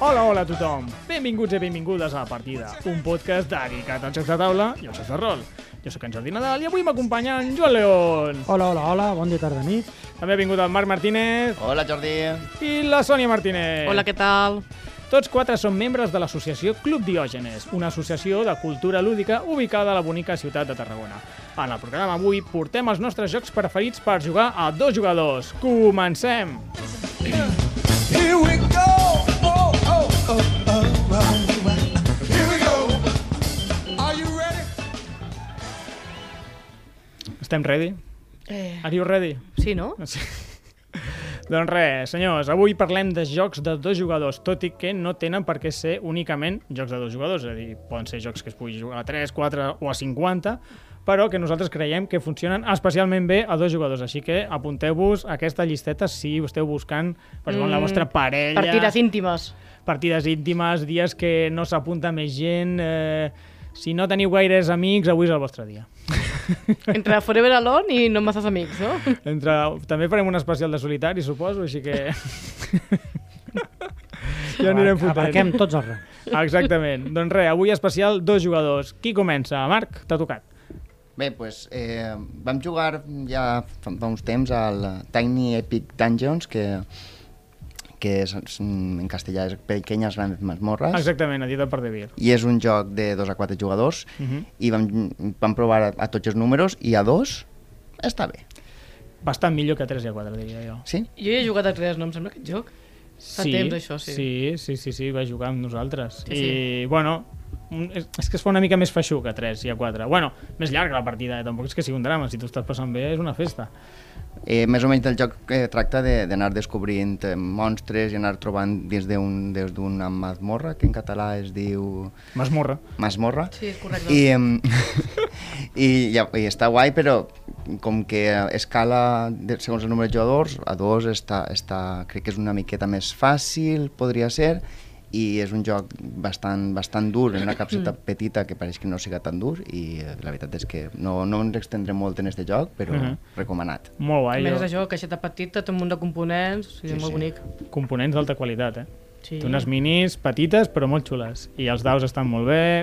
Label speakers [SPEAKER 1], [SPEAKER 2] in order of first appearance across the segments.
[SPEAKER 1] Hola, hola a tothom! Benvinguts i benvingudes a La Partida, un podcast dedicat als jocs de taula i als jocs de rol. Jo sóc en Jordi Nadal i avui m'acompanya en Joan León.
[SPEAKER 2] Hola, hola, hola, bon dia, tarda, nit.
[SPEAKER 1] També ha vingut el Marc Martínez
[SPEAKER 3] Hola, Jordi.
[SPEAKER 1] i la Sònia Martínez.
[SPEAKER 4] Hola, què tal?
[SPEAKER 1] Tots quatre són membres de l'associació Club Diògenes, una associació de cultura lúdica ubicada a la bonica ciutat de Tarragona. En el programa avui portem els nostres jocs preferits per jugar a dos jugadors. Comencem!
[SPEAKER 5] Here we go. Oh, oh, oh, oh, oh. Here we go. Are you ready?
[SPEAKER 1] Estem ready?
[SPEAKER 4] Eh,
[SPEAKER 1] Are you ready?
[SPEAKER 4] sí, no?
[SPEAKER 1] Sí. doncs res, senyors, avui parlem de jocs de dos jugadors, tot i que no tenen per què ser únicament jocs de dos jugadors, és a dir, poden ser jocs que es pugui jugar a 3, 4 o a 50, però que nosaltres creiem que funcionen especialment bé a dos jugadors, així que apunteu-vos a aquesta llisteta si esteu buscant per jugar amb la
[SPEAKER 4] Mm,
[SPEAKER 1] vostra parella,
[SPEAKER 4] Partides íntimes.
[SPEAKER 1] partides íntimes, dies que no s'apunta més gent... Eh, si no teniu gaires amics, avui és el vostre dia.
[SPEAKER 4] Entre Forever Alone i No Masses Amics, no?
[SPEAKER 1] Entre... També farem un especial de solitari, suposo, així que... ja anirem fotent.
[SPEAKER 2] Aparquem tots els rangs.
[SPEAKER 1] Exactament. Doncs res, avui especial dos jugadors. Qui comença? Marc, t'ha tocat.
[SPEAKER 3] Bé, doncs eh, vam jugar ja fa, fa uns temps al Tiny Epic Dungeons, que, que és, és, mm, en castellà és Pequeñas Grandes
[SPEAKER 4] Eh?
[SPEAKER 3] Mazmorras.
[SPEAKER 1] Exactament, editat per Devir.
[SPEAKER 3] I és un joc de 2 a 4 jugadors uh
[SPEAKER 1] Mhm.
[SPEAKER 3] -huh. i vam, vam provar a, a tots els números i a dos està bé,
[SPEAKER 1] Bastant millor que 3 i 4, diria jo.
[SPEAKER 3] sí?
[SPEAKER 4] Jo ja he jugat a tres, no? Em sembla aquest joc. Fa temps, això, sí.
[SPEAKER 1] Sí, sí, sí, sí, va jugar amb nosaltres.
[SPEAKER 4] Sí,
[SPEAKER 1] I, bueno, un- és, és que es fa una mica més feixuc a 3 i a 4. Bueno, més llarga la partida, eh? tampoc és que sigui un drama. Si tu estàs passant bé, és una festa.
[SPEAKER 3] Eh, més o menys el joc eh, tracta de- d'anar de, descobrint eh, monstres i anar trobant dins d'un- dins d'una mazmorra, que en català es diu...
[SPEAKER 1] Masmorra.
[SPEAKER 3] masmorra.
[SPEAKER 4] Sí, és correcte.
[SPEAKER 3] I, em, i, ja, I està guai, però com que escala de, segons el nombre de jugadors, a dos està, està, crec que és una miqueta més fàcil, podria ser, i és un joc bastant, bastant dur, en una capseta
[SPEAKER 4] Mm.
[SPEAKER 3] petita que pareix que no siga tan dur, i eh, la veritat és que no, no ens extendrem molt en este joc, però
[SPEAKER 1] Mhm.
[SPEAKER 3] recomanat.
[SPEAKER 1] Molt
[SPEAKER 4] A
[SPEAKER 1] guai.
[SPEAKER 4] més, és
[SPEAKER 1] jo.
[SPEAKER 4] això, caixeta petita, té un munt de components, o sigui,
[SPEAKER 3] Sí,
[SPEAKER 4] sí, molt
[SPEAKER 3] sí.
[SPEAKER 4] bonic.
[SPEAKER 1] Components d'alta qualitat, eh?
[SPEAKER 4] Sí.
[SPEAKER 1] Té unes minis petites però molt xules. I els daus estan molt bé,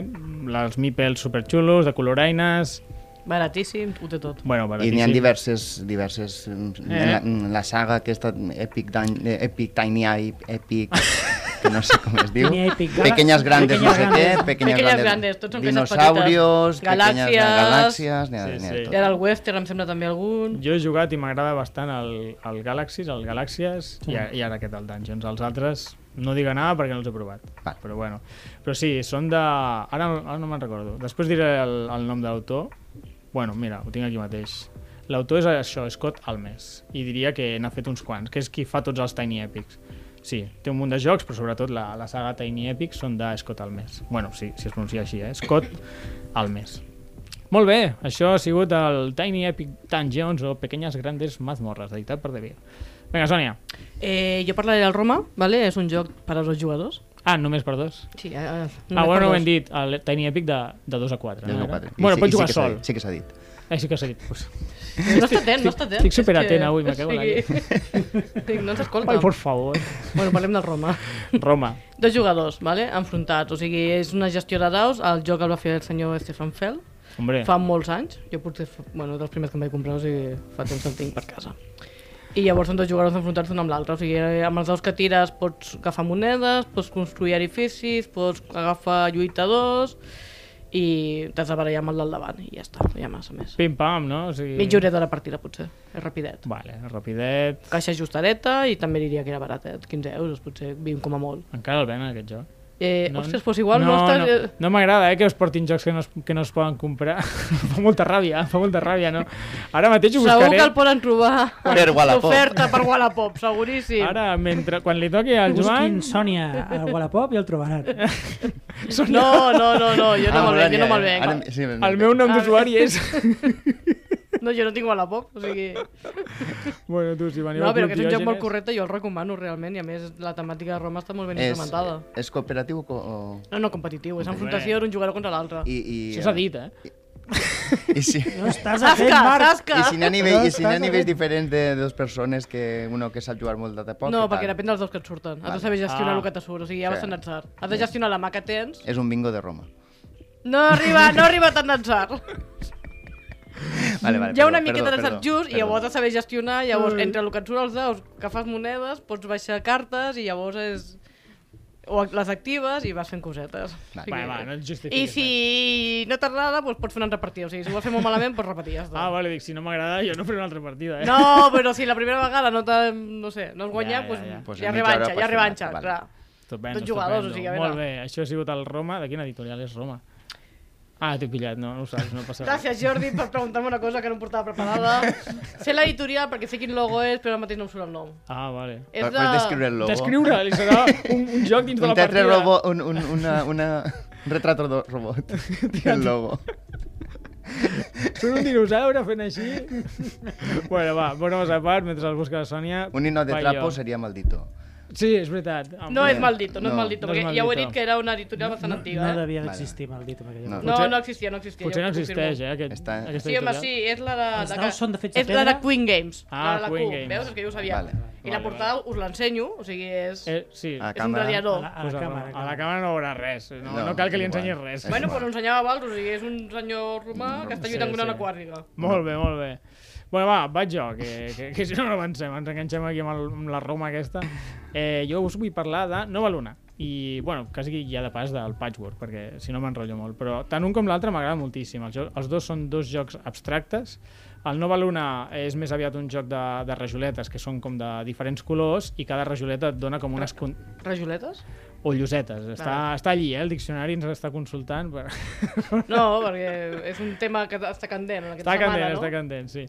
[SPEAKER 1] els mipels superxulos, de coloraines...
[SPEAKER 4] Baratíssim, ho té tot.
[SPEAKER 1] Bueno,
[SPEAKER 3] I n'hi ha
[SPEAKER 1] baratíssim.
[SPEAKER 3] diverses, diverses em,
[SPEAKER 1] Eh.
[SPEAKER 3] en, la, en la saga aquesta Epic, Dan, eh, Epic Tiny Eye, Epic que no sé com es diu
[SPEAKER 2] Tiny Epic Gal-
[SPEAKER 3] Pequeñas Grandes, no sé què Pequeñas
[SPEAKER 4] Pequeñas
[SPEAKER 3] Grandes,
[SPEAKER 4] Grandes, tots són coses
[SPEAKER 3] Dinosaurios
[SPEAKER 4] petites.
[SPEAKER 3] Pequeñas Galàxies
[SPEAKER 4] Galàxies.
[SPEAKER 3] n'hi ha,
[SPEAKER 1] Sí,
[SPEAKER 3] n'hi ha
[SPEAKER 1] sí.
[SPEAKER 3] de
[SPEAKER 4] Hi
[SPEAKER 3] tot.
[SPEAKER 4] ha el Western, em sembla també algun.
[SPEAKER 1] Jo he jugat i m'agrada bastant el, el Galaxies, el Galàxies sí. i, a- i ara aquest, el Dungeons. Els altres no diga nada perquè no els he provat.
[SPEAKER 3] Val.
[SPEAKER 1] Però bueno. Però sí, són de... Ara, no- ara no me'n recordo. Després diré el, el nom de l'autor. Bueno, mira, ho tinc aquí mateix. L'autor és això, Scott Almes. I diria que n'ha fet uns quants, que és qui fa tots els Tiny Epics. Sí, té un munt de jocs, però sobretot la, la saga Tiny Epics són de Scott Almes. Bueno, sí, si es pronuncia així, eh? Scott Almes. Molt bé, això ha sigut el Tiny Epic Dungeons o Pequeñas Grandes Mazmorras, editat per Devir. Vinga, Sònia.
[SPEAKER 4] Eh, jo parlaré del Roma, vale? és un joc per als dos jugadors.
[SPEAKER 1] Ah, només per dos?
[SPEAKER 4] Sí, eh, eh,
[SPEAKER 1] No ah, bueno, ho
[SPEAKER 4] per
[SPEAKER 1] hem dit, el Tiny Epic de, de 2 a 4.
[SPEAKER 3] De dos a quatre. I
[SPEAKER 1] Bueno,
[SPEAKER 3] sí- i
[SPEAKER 1] pots
[SPEAKER 3] sí
[SPEAKER 1] jugar
[SPEAKER 3] que s'ha
[SPEAKER 1] sol.
[SPEAKER 3] dit, Sí que s'ha dit.
[SPEAKER 1] Eh, sí que s'ha dit. Pues...
[SPEAKER 4] No està atent, no està atent.
[SPEAKER 1] estic superatent avui, me cago en la
[SPEAKER 4] Dic, no s'escolta.
[SPEAKER 1] Ai, por favor.
[SPEAKER 4] Bueno, parlem del Roma.
[SPEAKER 1] Roma.
[SPEAKER 4] Dos jugadors, vale? enfrontats. O sigui, és una gestió de daus. El joc el va fer el senyor Stefan Fell
[SPEAKER 1] Hombre,
[SPEAKER 4] fa molts anys. Jo potser, fa- bueno, dels primers que em vaig comprar, o sigui, fa temps que el tinc per casa. I llavors són dos jugadors enfrontats un amb l'altre. O sigui, eh, amb els daus que tires pots agafar monedes, pots construir edificis, pots agafar lluitadors i t'has de barallar amb el del davant i ja està, no hi ha massa més.
[SPEAKER 1] pim-pam, no? O sigui...
[SPEAKER 4] Mitja horeta de la partida, potser. És rapidet.
[SPEAKER 1] Vale, rapidet.
[SPEAKER 4] Caixa justadeta i també diria que era baratet, 15 euros, potser 20 com a molt.
[SPEAKER 1] Encara el venen, aquest joc.
[SPEAKER 4] Eh, no, ostres, doncs igual no,
[SPEAKER 1] no,
[SPEAKER 4] estàs...
[SPEAKER 1] no, no m'agrada eh, que us portin jocs que no es, que no es poden comprar. fa molta ràbia, fa molta ràbia, no? Ara mateix ho
[SPEAKER 4] Segur
[SPEAKER 1] buscaré.
[SPEAKER 4] que el poden trobar
[SPEAKER 3] Per Wallapop.
[SPEAKER 4] oferta per Wallapop, seguríssim.
[SPEAKER 1] Ara, mentre, quan li toqui al Joan...
[SPEAKER 2] Busquin Sònia a Wallapop i el trobaran.
[SPEAKER 4] No, no, no, no, jo no
[SPEAKER 3] Ah,
[SPEAKER 4] me'l
[SPEAKER 3] ara
[SPEAKER 4] venc,
[SPEAKER 3] n'hi
[SPEAKER 4] jo no
[SPEAKER 3] ha,
[SPEAKER 4] me'l venc.
[SPEAKER 3] ara- sí,
[SPEAKER 1] El meu nom
[SPEAKER 4] A
[SPEAKER 1] d'usuari és...
[SPEAKER 4] No, jo no tinc Wallapop, o sigui...
[SPEAKER 1] bueno, tu, si veniu
[SPEAKER 4] No,
[SPEAKER 1] al
[SPEAKER 4] però
[SPEAKER 1] Club
[SPEAKER 4] que és un joc molt
[SPEAKER 1] Diògenes-
[SPEAKER 4] correcte, jo el recomano realment, i a més la temàtica de Roma està molt ben
[SPEAKER 3] és,
[SPEAKER 4] implementada.
[SPEAKER 3] és cooperatiu o... o-
[SPEAKER 4] No, no, competitiu, és enfrontació d'un jugador contra l'altre.
[SPEAKER 3] I, i,
[SPEAKER 1] Això s'ha dit, eh?
[SPEAKER 3] I si,
[SPEAKER 2] No estàs a fent,
[SPEAKER 4] Tasca,
[SPEAKER 2] Marc!
[SPEAKER 4] tasca!
[SPEAKER 3] i si n'hi ha, nivell, i si n'hi ha
[SPEAKER 2] Estàs
[SPEAKER 3] nivells
[SPEAKER 2] fent-
[SPEAKER 3] diferents de, de dues persones que uno que sap jugar molt de poc
[SPEAKER 4] No,
[SPEAKER 3] i
[SPEAKER 4] perquè
[SPEAKER 3] tal.
[SPEAKER 4] depèn dels dos que et surten. Has de saber gestionar
[SPEAKER 1] Ah.
[SPEAKER 4] el que te surt, o sigui, ja
[SPEAKER 3] Sí.
[SPEAKER 4] vas en atzar. Has de gestionar la mà que tens.
[SPEAKER 3] És un bingo de Roma.
[SPEAKER 4] No arriba, no arriba tant d'atzar.
[SPEAKER 3] Vale, vale,
[SPEAKER 4] Hi ha una
[SPEAKER 3] Eh, perdó,
[SPEAKER 4] miqueta
[SPEAKER 3] perdó,
[SPEAKER 4] d'atzar
[SPEAKER 3] perdó,
[SPEAKER 4] just i
[SPEAKER 3] perdó.
[SPEAKER 4] llavors has de saber gestionar, llavors
[SPEAKER 2] Mm.
[SPEAKER 4] entre el que et surt els daus, que fas monedes, pots baixar cartes i llavors és... O les actives i vas fent cosetes.
[SPEAKER 3] Va,
[SPEAKER 4] O sigui,
[SPEAKER 1] Va, va, no et justifiquis.
[SPEAKER 4] I si no t'agrada, doncs pots fer una altra partida. O sigui, si ho vas fer molt malament, doncs pots repetir. Ja està.
[SPEAKER 1] Ah, vale, dic, si no m'agrada, jo no faré una altra partida, eh?
[SPEAKER 4] No, però si la primera vegada no, te, no sé, no has guanyat,
[SPEAKER 1] ja,
[SPEAKER 4] ja,
[SPEAKER 1] ja.
[SPEAKER 4] ja,
[SPEAKER 3] Pues
[SPEAKER 4] doncs ja,
[SPEAKER 3] en mitja hora
[SPEAKER 4] revanxa,
[SPEAKER 3] pots
[SPEAKER 4] ja
[SPEAKER 3] fer un
[SPEAKER 4] revanxa,
[SPEAKER 3] altre,
[SPEAKER 4] clar.
[SPEAKER 3] vale.
[SPEAKER 1] Estupendo,
[SPEAKER 4] Tots jugadors,
[SPEAKER 1] estupendo.
[SPEAKER 4] o sigui, a veure.
[SPEAKER 1] Molt bé, això ha sigut el Roma. De quina editorial és Roma? Ah, t'he pillat, no, no ho saps, no passa res.
[SPEAKER 4] Gràcies, Jordi, per preguntar-me una cosa que no em portava preparada. sé l'editorial perquè sé quin logo és, però ara mateix no em surt el nom.
[SPEAKER 1] Ah, vale.
[SPEAKER 4] És
[SPEAKER 3] Pots descriure el logo.
[SPEAKER 1] Descriure, li serà un, un joc dins de
[SPEAKER 3] un
[SPEAKER 1] la
[SPEAKER 3] teatre
[SPEAKER 1] partida.
[SPEAKER 3] robot, un, un, una, una... un retrato de robot. el logo.
[SPEAKER 1] Són un dinosaure fent així. bueno, va, bromes a part, mentre el busca la Sònia...
[SPEAKER 3] Un ninot de
[SPEAKER 1] va
[SPEAKER 3] trapo
[SPEAKER 1] jo.
[SPEAKER 3] seria maldito.
[SPEAKER 1] Sí, és veritat. Amb-
[SPEAKER 4] No és Maldito, no és
[SPEAKER 3] No,
[SPEAKER 4] Maldito,
[SPEAKER 1] no és
[SPEAKER 4] perquè ja ho he
[SPEAKER 1] Maldito.
[SPEAKER 4] dit que era una editorial bastant
[SPEAKER 2] No,
[SPEAKER 4] antiga,
[SPEAKER 2] no
[SPEAKER 4] eh?
[SPEAKER 2] devia
[SPEAKER 3] Vale.
[SPEAKER 2] d'existir, maldit. en aquella
[SPEAKER 3] No.
[SPEAKER 2] època.
[SPEAKER 4] No,
[SPEAKER 1] Potser-
[SPEAKER 4] no existia, no existia.
[SPEAKER 1] Potser
[SPEAKER 4] jo
[SPEAKER 1] no
[SPEAKER 4] t'ho confirmo.
[SPEAKER 1] existeix, eh, aquest,
[SPEAKER 3] Està-
[SPEAKER 1] aquesta
[SPEAKER 4] Sí, home,
[SPEAKER 1] editorial.
[SPEAKER 4] sí, és la de...
[SPEAKER 2] Els
[SPEAKER 4] la
[SPEAKER 2] daus són de fetge
[SPEAKER 4] És la de
[SPEAKER 2] pedra?
[SPEAKER 4] Queen Games.
[SPEAKER 1] Ah,
[SPEAKER 4] la de la
[SPEAKER 1] Queen
[SPEAKER 4] Q,
[SPEAKER 1] Games.
[SPEAKER 4] Veus? És que jo ho sabia.
[SPEAKER 3] Vale.
[SPEAKER 4] I
[SPEAKER 1] Vale,
[SPEAKER 4] la portada us l'ensenyo, o sigui, és...
[SPEAKER 1] Eh, sí.
[SPEAKER 3] Ah,
[SPEAKER 4] és un
[SPEAKER 3] càmera.
[SPEAKER 2] A
[SPEAKER 4] radiador.
[SPEAKER 2] la, a
[SPEAKER 1] Pues
[SPEAKER 2] la
[SPEAKER 1] a,
[SPEAKER 2] càmera.
[SPEAKER 1] a la càmera no veurà res. No, no,
[SPEAKER 3] No,
[SPEAKER 1] cal que li
[SPEAKER 3] és igual.
[SPEAKER 1] ensenyis res.
[SPEAKER 3] És
[SPEAKER 4] Bueno,
[SPEAKER 3] igual.
[SPEAKER 4] però ensenyava abans, o sigui, és un senyor romà que està lluitant
[SPEAKER 1] Sí,
[SPEAKER 4] contra
[SPEAKER 1] sí.
[SPEAKER 4] una quàrriga.
[SPEAKER 1] Molt bé, molt bé. Bueno, va, vaig jo, que, que, que si no no avancem, ens enganxem aquí amb, el, amb la Roma aquesta. Eh, jo us vull parlar de Nova Luna, i, bueno, quasi ja de pas del Patchwork, perquè si no m'enrotllo molt, però tant un com l'altre m'agrada moltíssim. Els, jo- els dos són dos jocs abstractes. El Nova Luna és més aviat un joc de, de rajoletes, que són com de diferents colors, i cada rajoleta et dona com unes... Con
[SPEAKER 4] Rajoletes?
[SPEAKER 1] o llosetes. Està, està allí, eh? El diccionari ens està consultant. Per...
[SPEAKER 4] No, perquè és un tema que està candent en aquesta
[SPEAKER 1] Està
[SPEAKER 4] setmana,
[SPEAKER 1] candent,
[SPEAKER 4] no?
[SPEAKER 1] està candent, sí.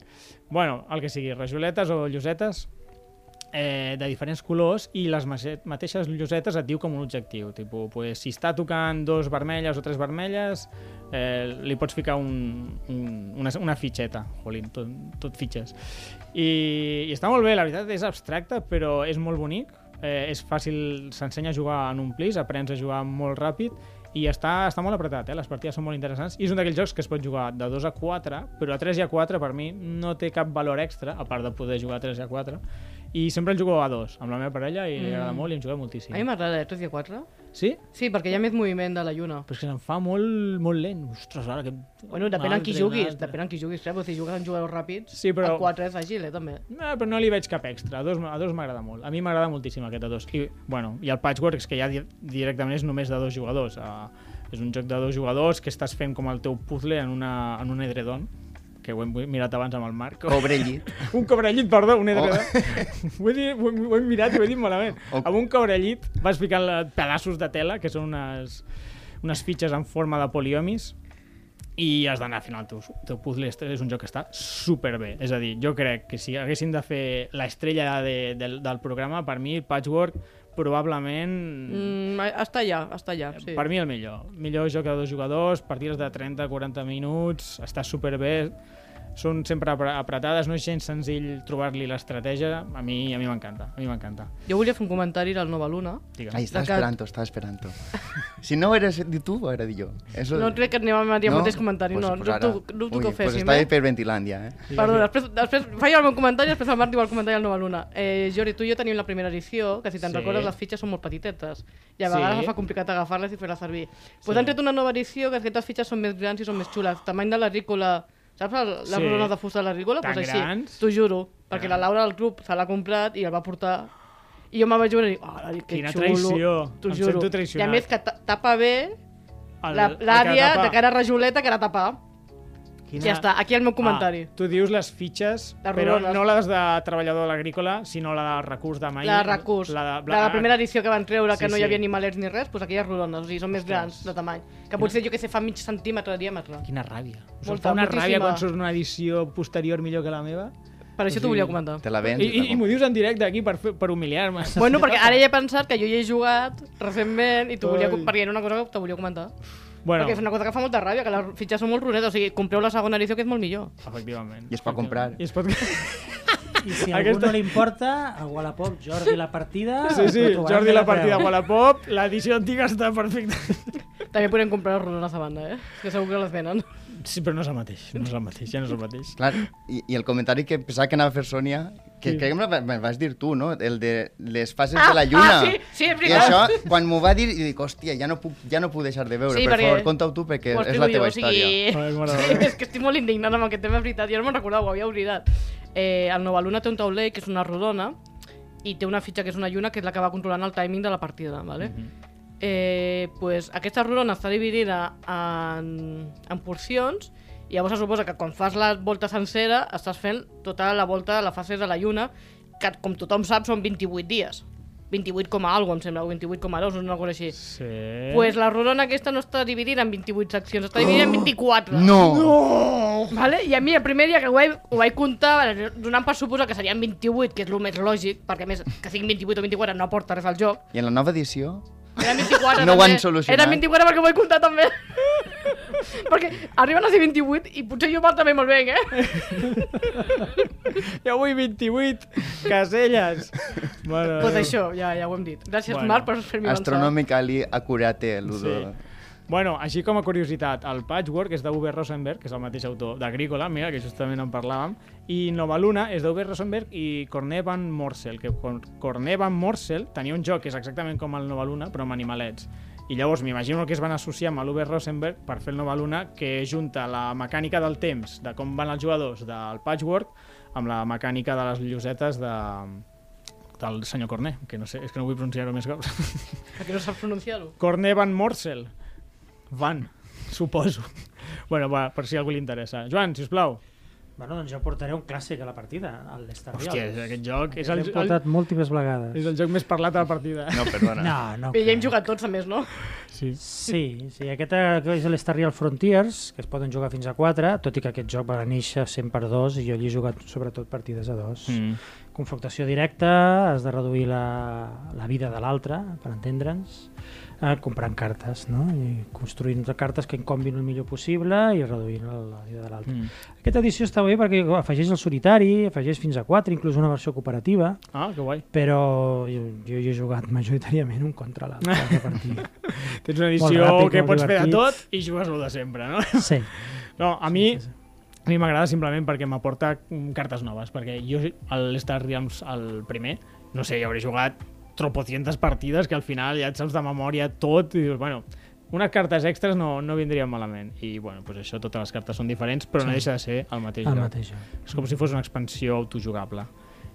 [SPEAKER 1] Bueno, el que sigui, rajoletes o llosetes eh, de diferents colors i les mase- mateixes llosetes et diu com un objectiu. Tipo, pues, si està tocant dos vermelles o tres vermelles, eh, li pots ficar un, un, una, una fitxeta. Jolín, tot, tot fitxes. I, I està molt bé, la veritat és abstracte, però és molt bonic. Eh, és fàcil, s'ensenya a jugar en un plis, aprens a jugar molt ràpid i està, està molt apretat, eh? les partides són molt interessants i és un d'aquells jocs que es pot jugar de 2 a 4 però a 3 i a 4 per mi no té cap valor extra a part de poder jugar a 3 i a 4 i sempre el jugo a 2 amb la meva parella i mm. li agrada molt i en juguem moltíssim
[SPEAKER 4] A mi m'agrada, eh, 3 i 4.
[SPEAKER 1] Sí?
[SPEAKER 4] Sí, perquè hi ha més moviment de la lluna.
[SPEAKER 1] Però és que se'n fa molt, molt lent Ostres, ara que...
[SPEAKER 4] Bueno, depèn
[SPEAKER 1] Un
[SPEAKER 4] en qui
[SPEAKER 1] altre, un
[SPEAKER 4] juguis,
[SPEAKER 1] altre.
[SPEAKER 4] depèn en qui juguis, saps? Si jugues amb jugadors ràpids,
[SPEAKER 1] Sí, però-
[SPEAKER 4] a 4 és àgil, eh, també.
[SPEAKER 1] No, però no li veig cap extra. A dos, a dos m'agrada molt. A mi m'agrada moltíssim aquest a dos. I, bueno, i el Patchwork és que ja di directament és només de dos jugadors. Uh, és un joc de dos jugadors que estàs fent com el teu puzzle en, una, en un edredon que ho hem mirat abans amb el Marc.
[SPEAKER 3] Cobre llit.
[SPEAKER 1] Un cobrellit, perdó, un edredon. ho, he dit, ho, he- ho he mirat i ho he dit malament.
[SPEAKER 3] O-
[SPEAKER 1] Amb un cobrellit vas ficant la- pedaços de tela, que són unes, unes fitxes en forma de poliomis, i has d'anar fent el teu, teu puzzle. Este És un joc que està superbé. És a dir, jo crec que si haguéssim de fer l'estrella de, del, del programa, per mi, Patchwork, probablement...
[SPEAKER 4] Mm, està allà, està allà, sí.
[SPEAKER 1] Eh, Per mi el millor. Millor joc de dos jugadors, partides de 30-40 minuts, està superbé, són sempre apre- apretades, no és gens senzill trobar-li l'estratègia, a mi a mi m'encanta, a mi m'encanta.
[SPEAKER 4] Jo volia fer un comentari del Nova Luna.
[SPEAKER 1] Digue'm.
[SPEAKER 3] Ai, estava
[SPEAKER 4] La ca-
[SPEAKER 3] esperant, estava esperant. Si no eres de tu, ho era de jo. Eso...
[SPEAKER 4] No crec que anem a dir el mateix comentari, no,
[SPEAKER 3] pues ara-
[SPEAKER 4] dubto, dubto que ho
[SPEAKER 3] Ui, pues
[SPEAKER 4] féssim,
[SPEAKER 3] estava
[SPEAKER 4] eh?
[SPEAKER 3] hiperventilant ja, eh?
[SPEAKER 4] Perdó, després, després faig el meu comentari i després el Marc diu el comentari del Nova Luna. Eh, Jordi, tu i jo tenim la primera edició, que si te'n
[SPEAKER 1] Sí.
[SPEAKER 4] recordes les fitxes són molt petitetes i a
[SPEAKER 1] Sí.
[SPEAKER 4] vegades es fa complicat agafar-les i fer-les servir. Doncs
[SPEAKER 1] Sí.
[SPEAKER 4] han tret una nova edició que aquestes fitxes són més grans i són més xules. Tamany de la rícola, saps el- les
[SPEAKER 1] Sí.
[SPEAKER 4] sí. de fusta de la rícola?
[SPEAKER 1] Tan
[SPEAKER 4] Doncs així,
[SPEAKER 1] grans? Ah.
[SPEAKER 4] t'ho juro, perquè la Laura del club se l'ha comprat i el va portar i jo me'n vaig veure i dic, oh, que
[SPEAKER 1] Quina
[SPEAKER 4] xulo,
[SPEAKER 1] traïció,
[SPEAKER 4] t'ho
[SPEAKER 1] em
[SPEAKER 4] juro.
[SPEAKER 1] sento
[SPEAKER 4] I a
[SPEAKER 1] traicionat.
[SPEAKER 4] més que ta- tapa bé
[SPEAKER 1] El-
[SPEAKER 4] la-
[SPEAKER 1] el que
[SPEAKER 4] l'àrea
[SPEAKER 1] tapa-
[SPEAKER 4] de cara rajoleta que era tapar.
[SPEAKER 1] Quina-
[SPEAKER 4] Ja està, aquí el meu comentari.
[SPEAKER 1] Ah, tu dius les fitxes,
[SPEAKER 4] Les
[SPEAKER 1] però
[SPEAKER 4] rodones.
[SPEAKER 1] no les de treballador agrícola, sinó la del recurs de mai.
[SPEAKER 4] La de recurs, la,
[SPEAKER 1] La de, Ah.
[SPEAKER 4] la, la primera edició que van treure,
[SPEAKER 1] Sí,
[SPEAKER 4] que no
[SPEAKER 1] sí.
[SPEAKER 4] hi havia ni malets ni res, doncs aquelles rodones, o sigui, són més
[SPEAKER 1] Ostres.
[SPEAKER 4] grans de tamany. Que potser, jo que sé, fa mig centímetre de diàmetre.
[SPEAKER 1] Quina ràbia. Us
[SPEAKER 4] Molta,
[SPEAKER 1] Molta, fa una
[SPEAKER 4] moltíssima.
[SPEAKER 1] ràbia quan surt una edició posterior millor que la meva?
[SPEAKER 4] Per això t'ho volia comentar.
[SPEAKER 3] Te la
[SPEAKER 1] I,
[SPEAKER 3] vens.
[SPEAKER 1] i, i m'ho dius en directe aquí per, fer- per humiliar-me.
[SPEAKER 4] Bueno, perquè ara ja he pensat que jo hi he jugat recentment i t'ho volia...
[SPEAKER 1] Ai.
[SPEAKER 4] Perquè era una cosa que te volia comentar.
[SPEAKER 1] Bueno,
[SPEAKER 4] Perquè és una cosa que fa molta ràbia, que les fitxes són molt ronetes, o sigui, compreu la segona edició que és molt millor.
[SPEAKER 1] efectivament.
[SPEAKER 3] I es pot comprar.
[SPEAKER 1] I es pot...
[SPEAKER 2] I si a
[SPEAKER 1] Aquesta-
[SPEAKER 2] algú no li importa, a Wallapop, Jordi la partida...
[SPEAKER 1] Sí, sí,
[SPEAKER 2] ho trobarà
[SPEAKER 1] Jordi
[SPEAKER 2] a
[SPEAKER 1] la
[SPEAKER 2] preu.
[SPEAKER 1] partida a Wallapop, l'edició antiga està perfecta.
[SPEAKER 4] També podem comprar les rodones a banda, eh? Que segur que les venen.
[SPEAKER 1] Sí, però no és el mateix, no és el mateix, ja no és el mateix.
[SPEAKER 3] Clar, i, i el comentari que pensava que anava a fer Sònia,
[SPEAKER 1] Sí.
[SPEAKER 3] que sí. crec que me, la- me vas dir tu, no? El de les fases
[SPEAKER 4] Ah,
[SPEAKER 3] de la lluna.
[SPEAKER 4] ah, sí, sí, és
[SPEAKER 3] I
[SPEAKER 4] veritat.
[SPEAKER 3] això, quan m'ho va dir, i dic, hòstia, ja no puc, ja no puc deixar de veure.
[SPEAKER 4] Sí,
[SPEAKER 3] Sí, per
[SPEAKER 4] perquè-
[SPEAKER 3] perquè... favor, conta-ho tu, perquè
[SPEAKER 4] Ho
[SPEAKER 3] és
[SPEAKER 4] explico
[SPEAKER 3] la teva
[SPEAKER 4] jo, o sigui,
[SPEAKER 3] història.
[SPEAKER 1] Ai, mare
[SPEAKER 4] Sí,
[SPEAKER 1] meva.
[SPEAKER 4] és que estic molt indignat amb aquest tema, és veritat. Jo no me'n recordava, ho havia oblidat. Eh, el Nova Luna té un tauler que és una rodona i té una fitxa que és una lluna que és la que va controlant el timing de la partida, ¿vale? eh, pues, aquesta rodona està dividida en, en porcions i llavors se suposa que quan fas la volta sencera estàs fent tota la volta de la fase de la lluna que com tothom sap són 28 dies 28, coma algo, em sembla, o 28,2 o una cosa així.
[SPEAKER 1] Sí.
[SPEAKER 3] Eh?
[SPEAKER 4] Pues la rodona aquesta no està dividida en 28 seccions, està dividida en 24.
[SPEAKER 3] Oh! No! no!
[SPEAKER 4] Vale? I a mi el primer dia que ho vaig, ho vaig comptar, donant per suposar que serien 28, que és el més lògic, perquè a més que siguin 28 o 24 no aporta res al joc.
[SPEAKER 3] I en la nova edició,
[SPEAKER 4] Era 24
[SPEAKER 3] No ho
[SPEAKER 4] també.
[SPEAKER 3] han solucionat.
[SPEAKER 4] Era 24 perquè ho vaig comptar també. perquè arriben a ser 28 i potser jo mal també me'l venc, eh?
[SPEAKER 1] Ja avui 28, caselles.
[SPEAKER 3] Eh.
[SPEAKER 1] Mare
[SPEAKER 4] Doncs
[SPEAKER 1] de Déu.
[SPEAKER 4] això, ja, ja ho hem dit. Gràcies,
[SPEAKER 1] Bueno.
[SPEAKER 4] bueno. Marc, per fer-me
[SPEAKER 3] Astronomically Accurate, el
[SPEAKER 1] Sí.
[SPEAKER 3] sí.
[SPEAKER 1] Bueno, així com a curiositat, el Patchwork és d'Uwe Rosenberg, que és el mateix autor d'Agrícola, mira, que justament en parlàvem, i Nova Luna és d'Uwe Rosenberg i Corné van Morsel, que Cor- Corné van Morsel tenia un joc que és exactament com el Nova Luna, però amb animalets. I llavors m'imagino que es van associar amb l'Uwe Rosenberg per fer el Nova Luna, que junta la mecànica del temps, de com van els jugadors del Patchwork, amb la mecànica de les llosetes de del senyor Corné, que no sé, és que no vull pronunciar-ho més cops.
[SPEAKER 4] Que no saps pronunciar-ho.
[SPEAKER 1] Corné Van Morsel. Van, suposo. Bueno, va, per si a algú li interessa. Joan, si us plau.
[SPEAKER 2] Bueno, doncs jo portaré un clàssic a la partida, al Star
[SPEAKER 1] Hòstia, és aquest joc és el,
[SPEAKER 2] L'hem
[SPEAKER 1] el,
[SPEAKER 2] portat múltiples vegades.
[SPEAKER 1] és el joc més parlat a la partida.
[SPEAKER 3] No, perdona.
[SPEAKER 2] No, no.
[SPEAKER 4] Bé, ja
[SPEAKER 2] crec.
[SPEAKER 4] hem jugat tots, a més, no?
[SPEAKER 1] Sí.
[SPEAKER 2] Sí, sí, aquest eh, és l'Star Real Frontiers, que es poden jugar fins a 4, tot i que aquest joc va néixer 100 per 2 i jo hi he jugat sobretot partides a 2. Mm. Confrontació directa, has de reduir la, la vida de l'altre, per entendre'ns, eh, comprant cartes, no? I construint cartes que incombin el millor possible i reduint el- la vida de l'altre.
[SPEAKER 1] Mm.
[SPEAKER 2] Mm. Aquesta edició està bé perquè afegeix el solitari, afegeix fins a 4, inclús una versió cooperativa,
[SPEAKER 1] Ah, que guai.
[SPEAKER 2] però jo, jo hi he jugat majoritàriament un contra l'altre a partir.
[SPEAKER 1] Tens una edició
[SPEAKER 2] ràpid,
[SPEAKER 1] que
[SPEAKER 2] molt
[SPEAKER 1] pots fer de
[SPEAKER 2] divertit.
[SPEAKER 1] tot i jugues lo de sempre, no?
[SPEAKER 2] Sí.
[SPEAKER 1] No, a mi... A mi m'agrada simplement perquè m'aporta mm, cartes noves, perquè jo l'Star Realms el primer, no sé, hi hauré jugat tropocientes partides que al final ja et saps de memòria tot i dius, bueno, unes cartes extres no, no vindrien malament. I, bueno, doncs això, totes les cartes són diferents, però no
[SPEAKER 2] Sí.
[SPEAKER 1] deixa de ser el mateix
[SPEAKER 2] El
[SPEAKER 1] joc.
[SPEAKER 2] mateix joc.
[SPEAKER 1] És com si fos una expansió autojugable.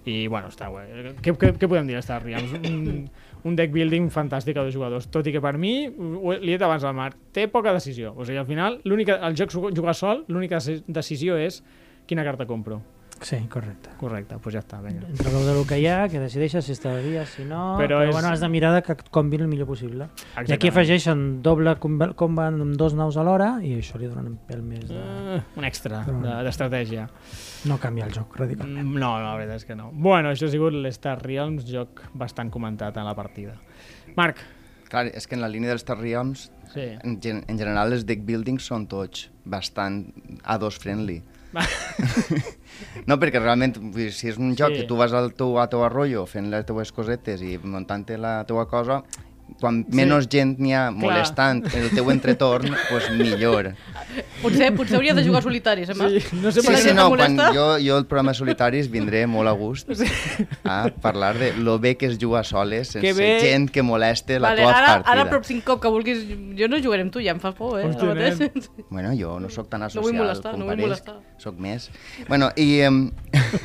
[SPEAKER 1] I, bueno, està guai. Què, què, què podem dir d'Star Realms? Un, un deck building fantàstic a dos jugadors, tot i que per mi, ho he- li he dit abans al Marc, té poca decisió. O sigui, al final, l'única, el joc su- jugar sol, l'única deci- decisió és quina carta compro.
[SPEAKER 2] Sí, correcte.
[SPEAKER 1] Correcte, doncs ja està, vinga.
[SPEAKER 2] Entre l'ou de lo que hi ha, que decideixes si està de dia, si no...
[SPEAKER 1] Però
[SPEAKER 2] Però,
[SPEAKER 1] és-
[SPEAKER 2] però bueno, has de mirar de que et combin el millor possible. I aquí
[SPEAKER 1] Exactament.
[SPEAKER 2] afegeixen doble comba- combat amb dos naus alhora i això li donen un pèl més de...
[SPEAKER 1] Uh, un extra de-
[SPEAKER 2] Però bueno.
[SPEAKER 1] d'estratègia.
[SPEAKER 2] No canvia el joc,
[SPEAKER 1] Mm,
[SPEAKER 2] radicalment.
[SPEAKER 1] No, no, la veritat és que no. Bueno, això ha sigut l'Star Realms, joc bastant comentat a la partida. Marc,
[SPEAKER 3] Clar, és que en la línia dels Tarriams,
[SPEAKER 1] sí.
[SPEAKER 3] en, gen en general, els deck buildings són tots bastant A2 friendly. no, perquè realment, vull dir, si és un joc
[SPEAKER 1] Sí.
[SPEAKER 3] sí. que tu vas al teu, a teu arroyo fent les teues cosetes i muntant la teua cosa, quan sí. menys gent n'hi ha molestant el teu entretorn, doncs pues millor.
[SPEAKER 4] Potser, potser hauries de jugar solitaris, eh, Marc?
[SPEAKER 1] Sí, no sé
[SPEAKER 4] Si
[SPEAKER 1] per
[SPEAKER 3] Sí,
[SPEAKER 4] la
[SPEAKER 1] què-
[SPEAKER 3] sí,
[SPEAKER 4] gent
[SPEAKER 3] no,
[SPEAKER 4] et
[SPEAKER 3] quan
[SPEAKER 4] molesta-
[SPEAKER 3] jo, jo el programa Solitaris vindré molt a gust a parlar de lo bé que es juga a soles
[SPEAKER 1] Que
[SPEAKER 3] sense
[SPEAKER 1] bé.
[SPEAKER 3] gent que moleste la
[SPEAKER 4] Vale,
[SPEAKER 3] tua
[SPEAKER 4] ara,
[SPEAKER 3] partida.
[SPEAKER 4] ara prop cinc cop que vulguis... Jo no jugaré amb tu, ja em fa por, eh?
[SPEAKER 1] Hòstia,
[SPEAKER 4] ara mateix.
[SPEAKER 3] Bueno, jo no sóc tan asocial
[SPEAKER 4] vull molestar,
[SPEAKER 3] com
[SPEAKER 4] no vull
[SPEAKER 3] pareix,
[SPEAKER 4] molestar.
[SPEAKER 3] Sóc més. Bueno, i, em,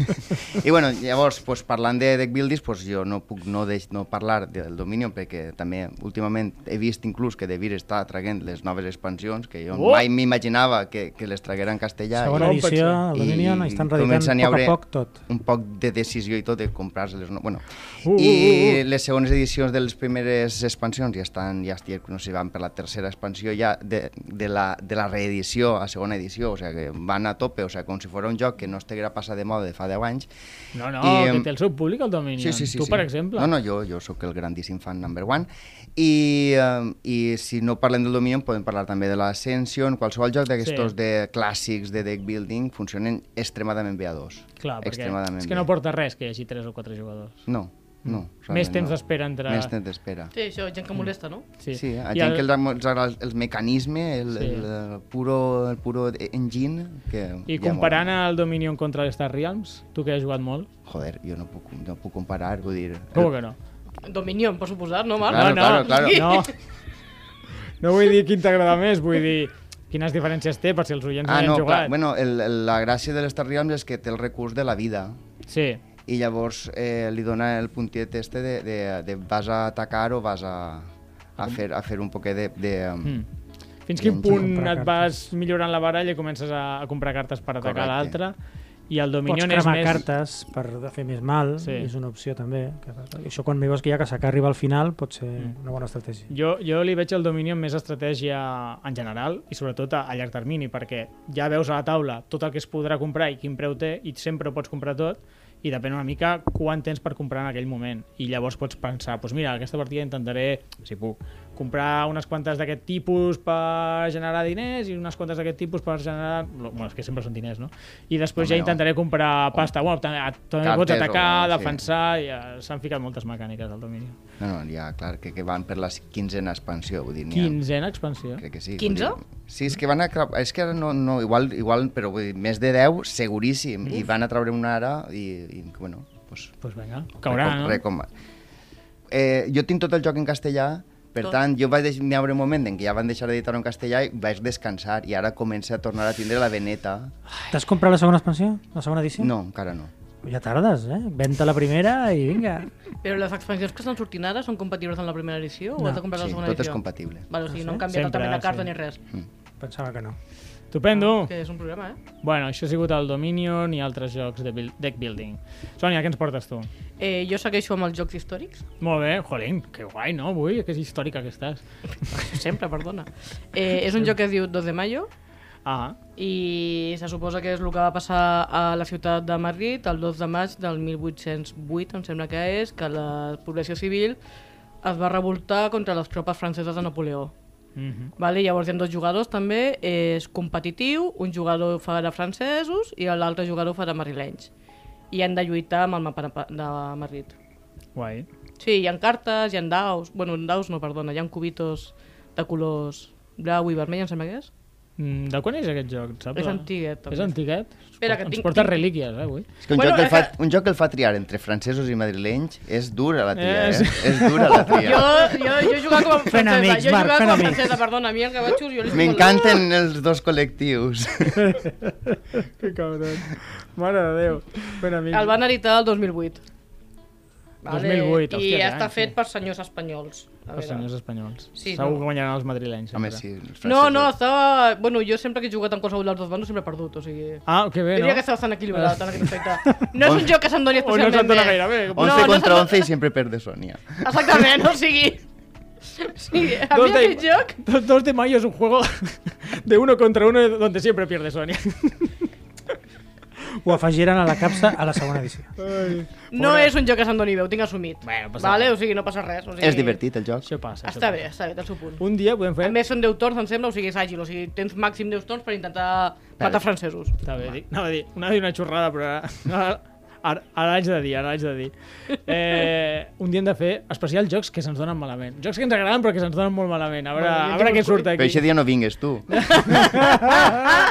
[SPEAKER 3] i bueno, llavors, pues, parlant de deck builders, pues, jo no puc no, deix, no parlar del Dominion, perquè també últimament he vist inclús que Devir està traguent les noves expansions, que jo
[SPEAKER 1] Oh!
[SPEAKER 3] oh! mai m'imaginava que, que les traguera en castellà. i-
[SPEAKER 2] Segona
[SPEAKER 1] no em
[SPEAKER 2] edició,
[SPEAKER 1] pensava.
[SPEAKER 2] el Dominion, i estan
[SPEAKER 3] comencen
[SPEAKER 2] radicant
[SPEAKER 3] hi
[SPEAKER 2] a poc
[SPEAKER 3] hauré
[SPEAKER 2] a poc tot.
[SPEAKER 3] Un poc de decisió i tot de comprar-les. No? Bueno,
[SPEAKER 1] Uh, uh, uh.
[SPEAKER 3] I les segones edicions de les primeres expansions ja estan, ja estic, no sé, van per la tercera expansió ja de, de, la, de la reedició a segona edició, o sigui que van a tope, o sigui, com si fos un joc que no estiguera passat de moda de fa 10 anys.
[SPEAKER 1] No, no,
[SPEAKER 3] I,
[SPEAKER 1] que
[SPEAKER 3] em,
[SPEAKER 1] té el seu públic el Dominion. tu, per exemple.
[SPEAKER 3] No, no, jo, jo sóc el grandíssim fan number one. I, eh, I si no parlem del Dominion, podem parlar també de l'Ascension. Qualsevol joc d'aquestos
[SPEAKER 1] Sí.
[SPEAKER 3] de clàssics de deck building funcionen extremadament bé a dos.
[SPEAKER 1] Clar, perquè
[SPEAKER 3] extremadament
[SPEAKER 1] és que no porta res que hi hagi 3 o 4 jugadors.
[SPEAKER 3] No, No,
[SPEAKER 1] Mm. Més
[SPEAKER 3] realment
[SPEAKER 1] temps
[SPEAKER 3] no.
[SPEAKER 1] d'espera entre...
[SPEAKER 3] Més temps d'espera.
[SPEAKER 4] Sí, això, gent que molesta, no?
[SPEAKER 1] Sí,
[SPEAKER 3] Sí, eh? a
[SPEAKER 1] I
[SPEAKER 3] gent
[SPEAKER 1] el-
[SPEAKER 3] que els agrada el, el mecanisme, el,
[SPEAKER 1] Sí.
[SPEAKER 3] sí. el, eh, puro, el puro engine... Que
[SPEAKER 1] I
[SPEAKER 3] ja
[SPEAKER 1] comparant
[SPEAKER 3] mola.
[SPEAKER 1] el Dominion contra el Star Realms, tu que has jugat molt...
[SPEAKER 3] Joder, jo no puc, no puc comparar, vull dir...
[SPEAKER 1] Com que no?
[SPEAKER 4] Dominion, per suposar, no, Marc?
[SPEAKER 3] Claro,
[SPEAKER 1] no,
[SPEAKER 3] claro,
[SPEAKER 1] no,
[SPEAKER 3] claro.
[SPEAKER 1] no. No vull dir quin t'agrada més, vull dir quines diferències té per si els oients
[SPEAKER 3] Ah,
[SPEAKER 1] han
[SPEAKER 3] no, clar,
[SPEAKER 1] jugat.
[SPEAKER 3] bueno, el, el, la gràcia de l'Star Realms és que té el recurs de la vida
[SPEAKER 1] Sí,
[SPEAKER 3] i llavors eh, li dona el puntet este de, de, de vas a atacar o vas a, a, fer, a fer un poquet de... de mm.
[SPEAKER 1] mm. fins quin
[SPEAKER 3] Sí,
[SPEAKER 1] punt
[SPEAKER 2] comprar
[SPEAKER 1] et vas millorant la baralla i comences a, a comprar cartes per atacar
[SPEAKER 3] Correcte.
[SPEAKER 1] l'altre i el
[SPEAKER 2] Pots
[SPEAKER 1] Dominion és
[SPEAKER 2] cremar
[SPEAKER 1] més...
[SPEAKER 2] cartes per fer més mal,
[SPEAKER 1] Sí.
[SPEAKER 2] és una opció també. Que, això quan veus que ja que s'acaba arriba al final pot ser
[SPEAKER 1] Mm.
[SPEAKER 2] una bona estratègia.
[SPEAKER 1] Jo, jo li veig el Dominion més estratègia en general i sobretot a, a llarg termini perquè ja veus a la taula tot el que es podrà comprar i quin preu té i sempre ho pots comprar tot i depèn una mica quant tens per comprar en aquell moment i llavors pots pensar, doncs mira, aquesta partida intentaré, si puc, comprar unes quantes d'aquest tipus per generar diners i unes quantes d'aquest tipus per generar... Bueno, és que sempre són diners, no? I després
[SPEAKER 3] Home,
[SPEAKER 1] ja
[SPEAKER 3] no.
[SPEAKER 1] intentaré comprar pasta. Bueno, també també pots
[SPEAKER 3] Cartes o-
[SPEAKER 1] atacar,
[SPEAKER 3] sí.
[SPEAKER 1] defensar... i, eh, S'han ficat moltes mecàniques al Dominion.
[SPEAKER 3] No, no, ja, clar, que, que van per la quinzena expansió, vull dir... n'hi ha-
[SPEAKER 1] Quinzena expansió.
[SPEAKER 3] Crec que sí.
[SPEAKER 4] 15?
[SPEAKER 3] vull dir- Sí, és que van a... cra- És que ara no, no igual, igual però vull dir, més de 10, seguríssim. I van a treure una ara i, i bueno, pues,
[SPEAKER 1] Pues vinga, caurà,
[SPEAKER 3] recom-
[SPEAKER 1] no?
[SPEAKER 3] recom- Eh, jo tinc tot el joc en castellà, per
[SPEAKER 4] Tot.
[SPEAKER 3] tot. tant, jo vaig deix- n'hi haurà un moment en què ja van deixar d'editar en castellà i vaig descansar i ara comença a tornar a tindre la veneta.
[SPEAKER 2] T'has comprat la segona expansió? La segona edició?
[SPEAKER 3] No, encara no.
[SPEAKER 2] Ja tardes, eh? Venta la primera i vinga.
[SPEAKER 4] Però les expansions que estan sortint ara són compatibles amb la primera edició o
[SPEAKER 2] No.
[SPEAKER 4] has de comprar la
[SPEAKER 3] Sí,
[SPEAKER 4] segona
[SPEAKER 3] tot és
[SPEAKER 4] doncs edició?
[SPEAKER 3] compatible.
[SPEAKER 4] Vale, o sigui, no han
[SPEAKER 1] Sempre,
[SPEAKER 4] canviat totalment la
[SPEAKER 1] sí.
[SPEAKER 4] carta
[SPEAKER 1] Oh.
[SPEAKER 4] ni res.
[SPEAKER 2] Pensava que no.
[SPEAKER 1] Estupendo!
[SPEAKER 4] Que és un problema, eh?
[SPEAKER 1] Bueno, això ha sigut el Dominion i altres jocs de build deck building. Sònia, què ens portes tu?
[SPEAKER 4] eh jo segueixo amb els jocs històrics.
[SPEAKER 1] Molt bé, jolín, que guai, no? Avui, que és històrica que estàs.
[SPEAKER 4] Sempre, perdona. Eh, és un joc que es diu 2 de mayo
[SPEAKER 1] Ah,
[SPEAKER 4] i se suposa que és el que va passar a la ciutat de Madrid el 2 de maig del 1808, em sembla que és, que la població civil es va revoltar contra les tropes franceses de Napoleó.
[SPEAKER 1] mm -hmm.
[SPEAKER 4] Vale, llavors hi ha dos jugadors també, és competitiu, un jugador farà francesos i l'altre jugador farà madrilenys. I han de lluitar amb el mapa de- de Madrid.
[SPEAKER 1] guai.
[SPEAKER 4] Sí, hi ha cartes, hi ha daus, bueno, daus no, perdona, hi ha cubitos de colors blau i vermell, em sembla que és.
[SPEAKER 1] Mm, de quan és aquest joc, et saps?
[SPEAKER 4] És antiguet, també.
[SPEAKER 1] És antiguet?
[SPEAKER 4] Espera,
[SPEAKER 1] Ens
[SPEAKER 4] que tinc-
[SPEAKER 1] porta
[SPEAKER 4] tinc-
[SPEAKER 1] relíquies, eh, avui.
[SPEAKER 3] És que un, bueno,
[SPEAKER 4] Bueno,
[SPEAKER 3] joc que el
[SPEAKER 4] és
[SPEAKER 3] fa, un joc que el fa triar entre francesos i madrilenys és dura la tria,
[SPEAKER 1] És-
[SPEAKER 3] eh? És dura la
[SPEAKER 4] Jo,
[SPEAKER 3] tria.
[SPEAKER 4] jo, jo jugava com a
[SPEAKER 2] Fent
[SPEAKER 4] francesa,
[SPEAKER 2] amics,
[SPEAKER 4] jo
[SPEAKER 2] Marc,
[SPEAKER 4] jugava
[SPEAKER 2] fent
[SPEAKER 4] com a
[SPEAKER 2] amics.
[SPEAKER 4] francesa, perdona, a mi el gavatxo jo li
[SPEAKER 3] M'encanten els dos col·lectius.
[SPEAKER 1] Que cabron. Mare de Déu. Ben amic.
[SPEAKER 4] El van editar el 2008.
[SPEAKER 1] 2008,
[SPEAKER 4] I
[SPEAKER 1] hòstia,
[SPEAKER 4] està
[SPEAKER 1] sí.
[SPEAKER 4] fet per senyors espanyols. A
[SPEAKER 1] Els
[SPEAKER 4] veure.
[SPEAKER 1] senyors espanyols.
[SPEAKER 4] Sí,
[SPEAKER 1] Segur
[SPEAKER 4] no.
[SPEAKER 1] que guanyaran els madrilenys.
[SPEAKER 3] Home,
[SPEAKER 1] sempre.
[SPEAKER 3] sí, els
[SPEAKER 4] No, no,
[SPEAKER 3] francesos.
[SPEAKER 4] estava... Bueno, jo sempre que he jugat amb qualsevol dels dos bandos sempre he perdut, o sigui...
[SPEAKER 1] Ah, que bé, no?
[SPEAKER 4] Diria que està bastant equilibrat en aquest aspecte. No és un joc que se'n doni
[SPEAKER 1] O Ah, no se'n
[SPEAKER 4] especialment
[SPEAKER 1] dona gaire bé.
[SPEAKER 4] No,
[SPEAKER 3] 11
[SPEAKER 4] no Eh.
[SPEAKER 3] contra
[SPEAKER 4] se'n-
[SPEAKER 3] 11 i sempre perde Sònia.
[SPEAKER 4] Exactament, o sigui... Sí, a mi
[SPEAKER 1] Dos de-
[SPEAKER 4] aquest joc...
[SPEAKER 1] Dos, dos de mayo es un juego de uno contra uno donde siempre pierde Sonia.
[SPEAKER 2] Ho afegiran a la capsa a la segona edició.
[SPEAKER 4] No és un joc que se'n doni bé, ho tinc assumit.
[SPEAKER 1] Bueno, passa
[SPEAKER 4] vale?
[SPEAKER 1] res.
[SPEAKER 4] O sigui, no passa res. O sigui,
[SPEAKER 3] És divertit el joc.
[SPEAKER 1] Això passa. això
[SPEAKER 4] Està bé,
[SPEAKER 1] passa.
[SPEAKER 4] està bé, tens un punt.
[SPEAKER 1] Un dia podem fer...
[SPEAKER 4] A més, són 10 torns, em sembla, o sigui, és àgil. O sigui, tens màxim 10 torns per intentar matar francesos.
[SPEAKER 1] Està bé, dic, anava a dir, anava a dir una xorrada, però ara, ara, ara, ara haig de dir, ara haig de dir. Eh, un dia hem de fer especial jocs que se'ns donen malament. Jocs que ens agraden però que se'ns donen molt malament. A veure,
[SPEAKER 4] Bueno, jo
[SPEAKER 1] a veure
[SPEAKER 4] tinc
[SPEAKER 1] què
[SPEAKER 4] un-
[SPEAKER 1] surt
[SPEAKER 3] Però
[SPEAKER 1] aquí.
[SPEAKER 3] aquest dia no vingues tu.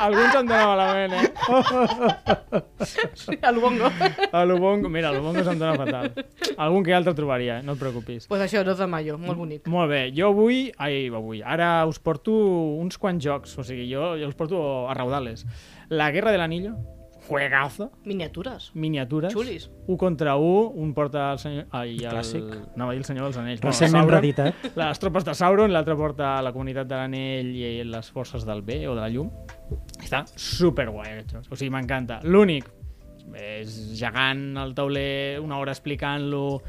[SPEAKER 1] Alguns em dona malament, eh?
[SPEAKER 4] El bongo.
[SPEAKER 1] A l'Ubongo, mira, a l'Ubongo se'm dona fatal. Algun que altre trobaria, eh? no et preocupis.
[SPEAKER 4] pues això, 2 de mayo, molt bonic.
[SPEAKER 1] Molt bé, jo avui, ai, avui, ara us porto uns quants jocs, o sigui, jo, jo els porto a raudales. La Guerra de l'Anillo, juegazo,
[SPEAKER 4] Miniatures.
[SPEAKER 1] miniatures.
[SPEAKER 4] Xulis.
[SPEAKER 1] Un contra un, un porta el senyor... Ai, el...
[SPEAKER 2] Clàssic.
[SPEAKER 1] Anava a dir el senyor dels anells.
[SPEAKER 2] Recentment eh?
[SPEAKER 1] Sauron.
[SPEAKER 2] reeditat.
[SPEAKER 1] Les tropes de Sauron, l'altre porta la comunitat de l'anell i les forces del bé o de la llum. Està superguai, aquest joc. O sigui, m'encanta. L'únic, és gegant al tauler, una hora explicant-lo,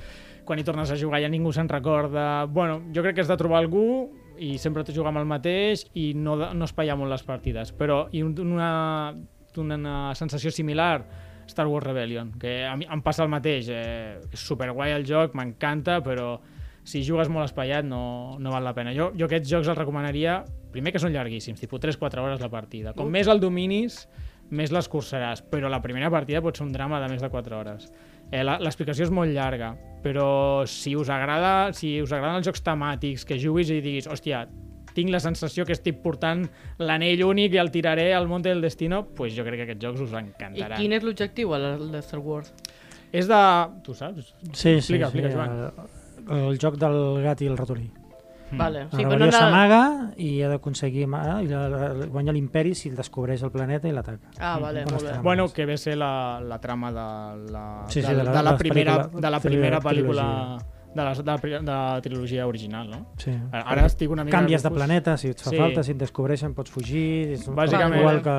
[SPEAKER 1] quan hi tornes a jugar ja ningú se'n recorda... Bueno, jo crec que has de trobar algú i sempre t'ho jugar amb el mateix i no, de- no espaiar molt les partides. Però i un- una, una, una sensació similar Star Wars Rebellion, que a mi em passa el mateix. Eh? És superguai el joc, m'encanta, però si jugues molt espaiat no, no val la pena. Jo, jo aquests jocs els recomanaria, primer que són llarguíssims, tipus 3-4 hores la partida. Com més el dominis, més l'escurçaràs, però la primera partida pot ser un drama de més de 4 hores. Eh, la- L'explicació és molt llarga, però si us, agrada, si us agraden els jocs temàtics, que juguis i diguis, hòstia, tinc la sensació que estic portant l'anell únic i el tiraré al Monte del Destino, pues jo crec que aquests jocs us
[SPEAKER 4] I
[SPEAKER 1] encantaran.
[SPEAKER 4] quin és l'objectiu a la- de Star Wars?
[SPEAKER 1] És de... Tu saps?
[SPEAKER 2] Sí, sí,
[SPEAKER 1] Explica,
[SPEAKER 2] sí,
[SPEAKER 1] explica,
[SPEAKER 2] el, el joc del gat i el ratolí.
[SPEAKER 1] Mm.
[SPEAKER 4] Vale.
[SPEAKER 2] Sí, la
[SPEAKER 4] però no
[SPEAKER 2] rebel·lió
[SPEAKER 4] la-
[SPEAKER 2] s'amaga i ha d'aconseguir ma- ah, i la- la- guanya l'imperi si el descobreix el planeta i l'ataca.
[SPEAKER 4] Ah, vale,
[SPEAKER 2] On
[SPEAKER 4] molt
[SPEAKER 2] està?
[SPEAKER 4] bé.
[SPEAKER 1] Bueno, que ve ser la, la trama de la,
[SPEAKER 2] Sí, sí,
[SPEAKER 1] de,
[SPEAKER 2] de la-
[SPEAKER 1] de la
[SPEAKER 2] les
[SPEAKER 1] primera,
[SPEAKER 2] pel·lícules-
[SPEAKER 1] de la
[SPEAKER 2] tri-
[SPEAKER 1] primera pel·lícula
[SPEAKER 2] trilogia.
[SPEAKER 1] de la, de, la, pri- de la trilogia original, no?
[SPEAKER 2] Sí.
[SPEAKER 1] Ara, ara estic una mica...
[SPEAKER 2] Canvies de
[SPEAKER 1] confús.
[SPEAKER 2] planeta, si et fa
[SPEAKER 1] Sí.
[SPEAKER 2] falta, si et descobreixen pots fugir... És un-
[SPEAKER 1] Bàsicament-
[SPEAKER 2] Igual que...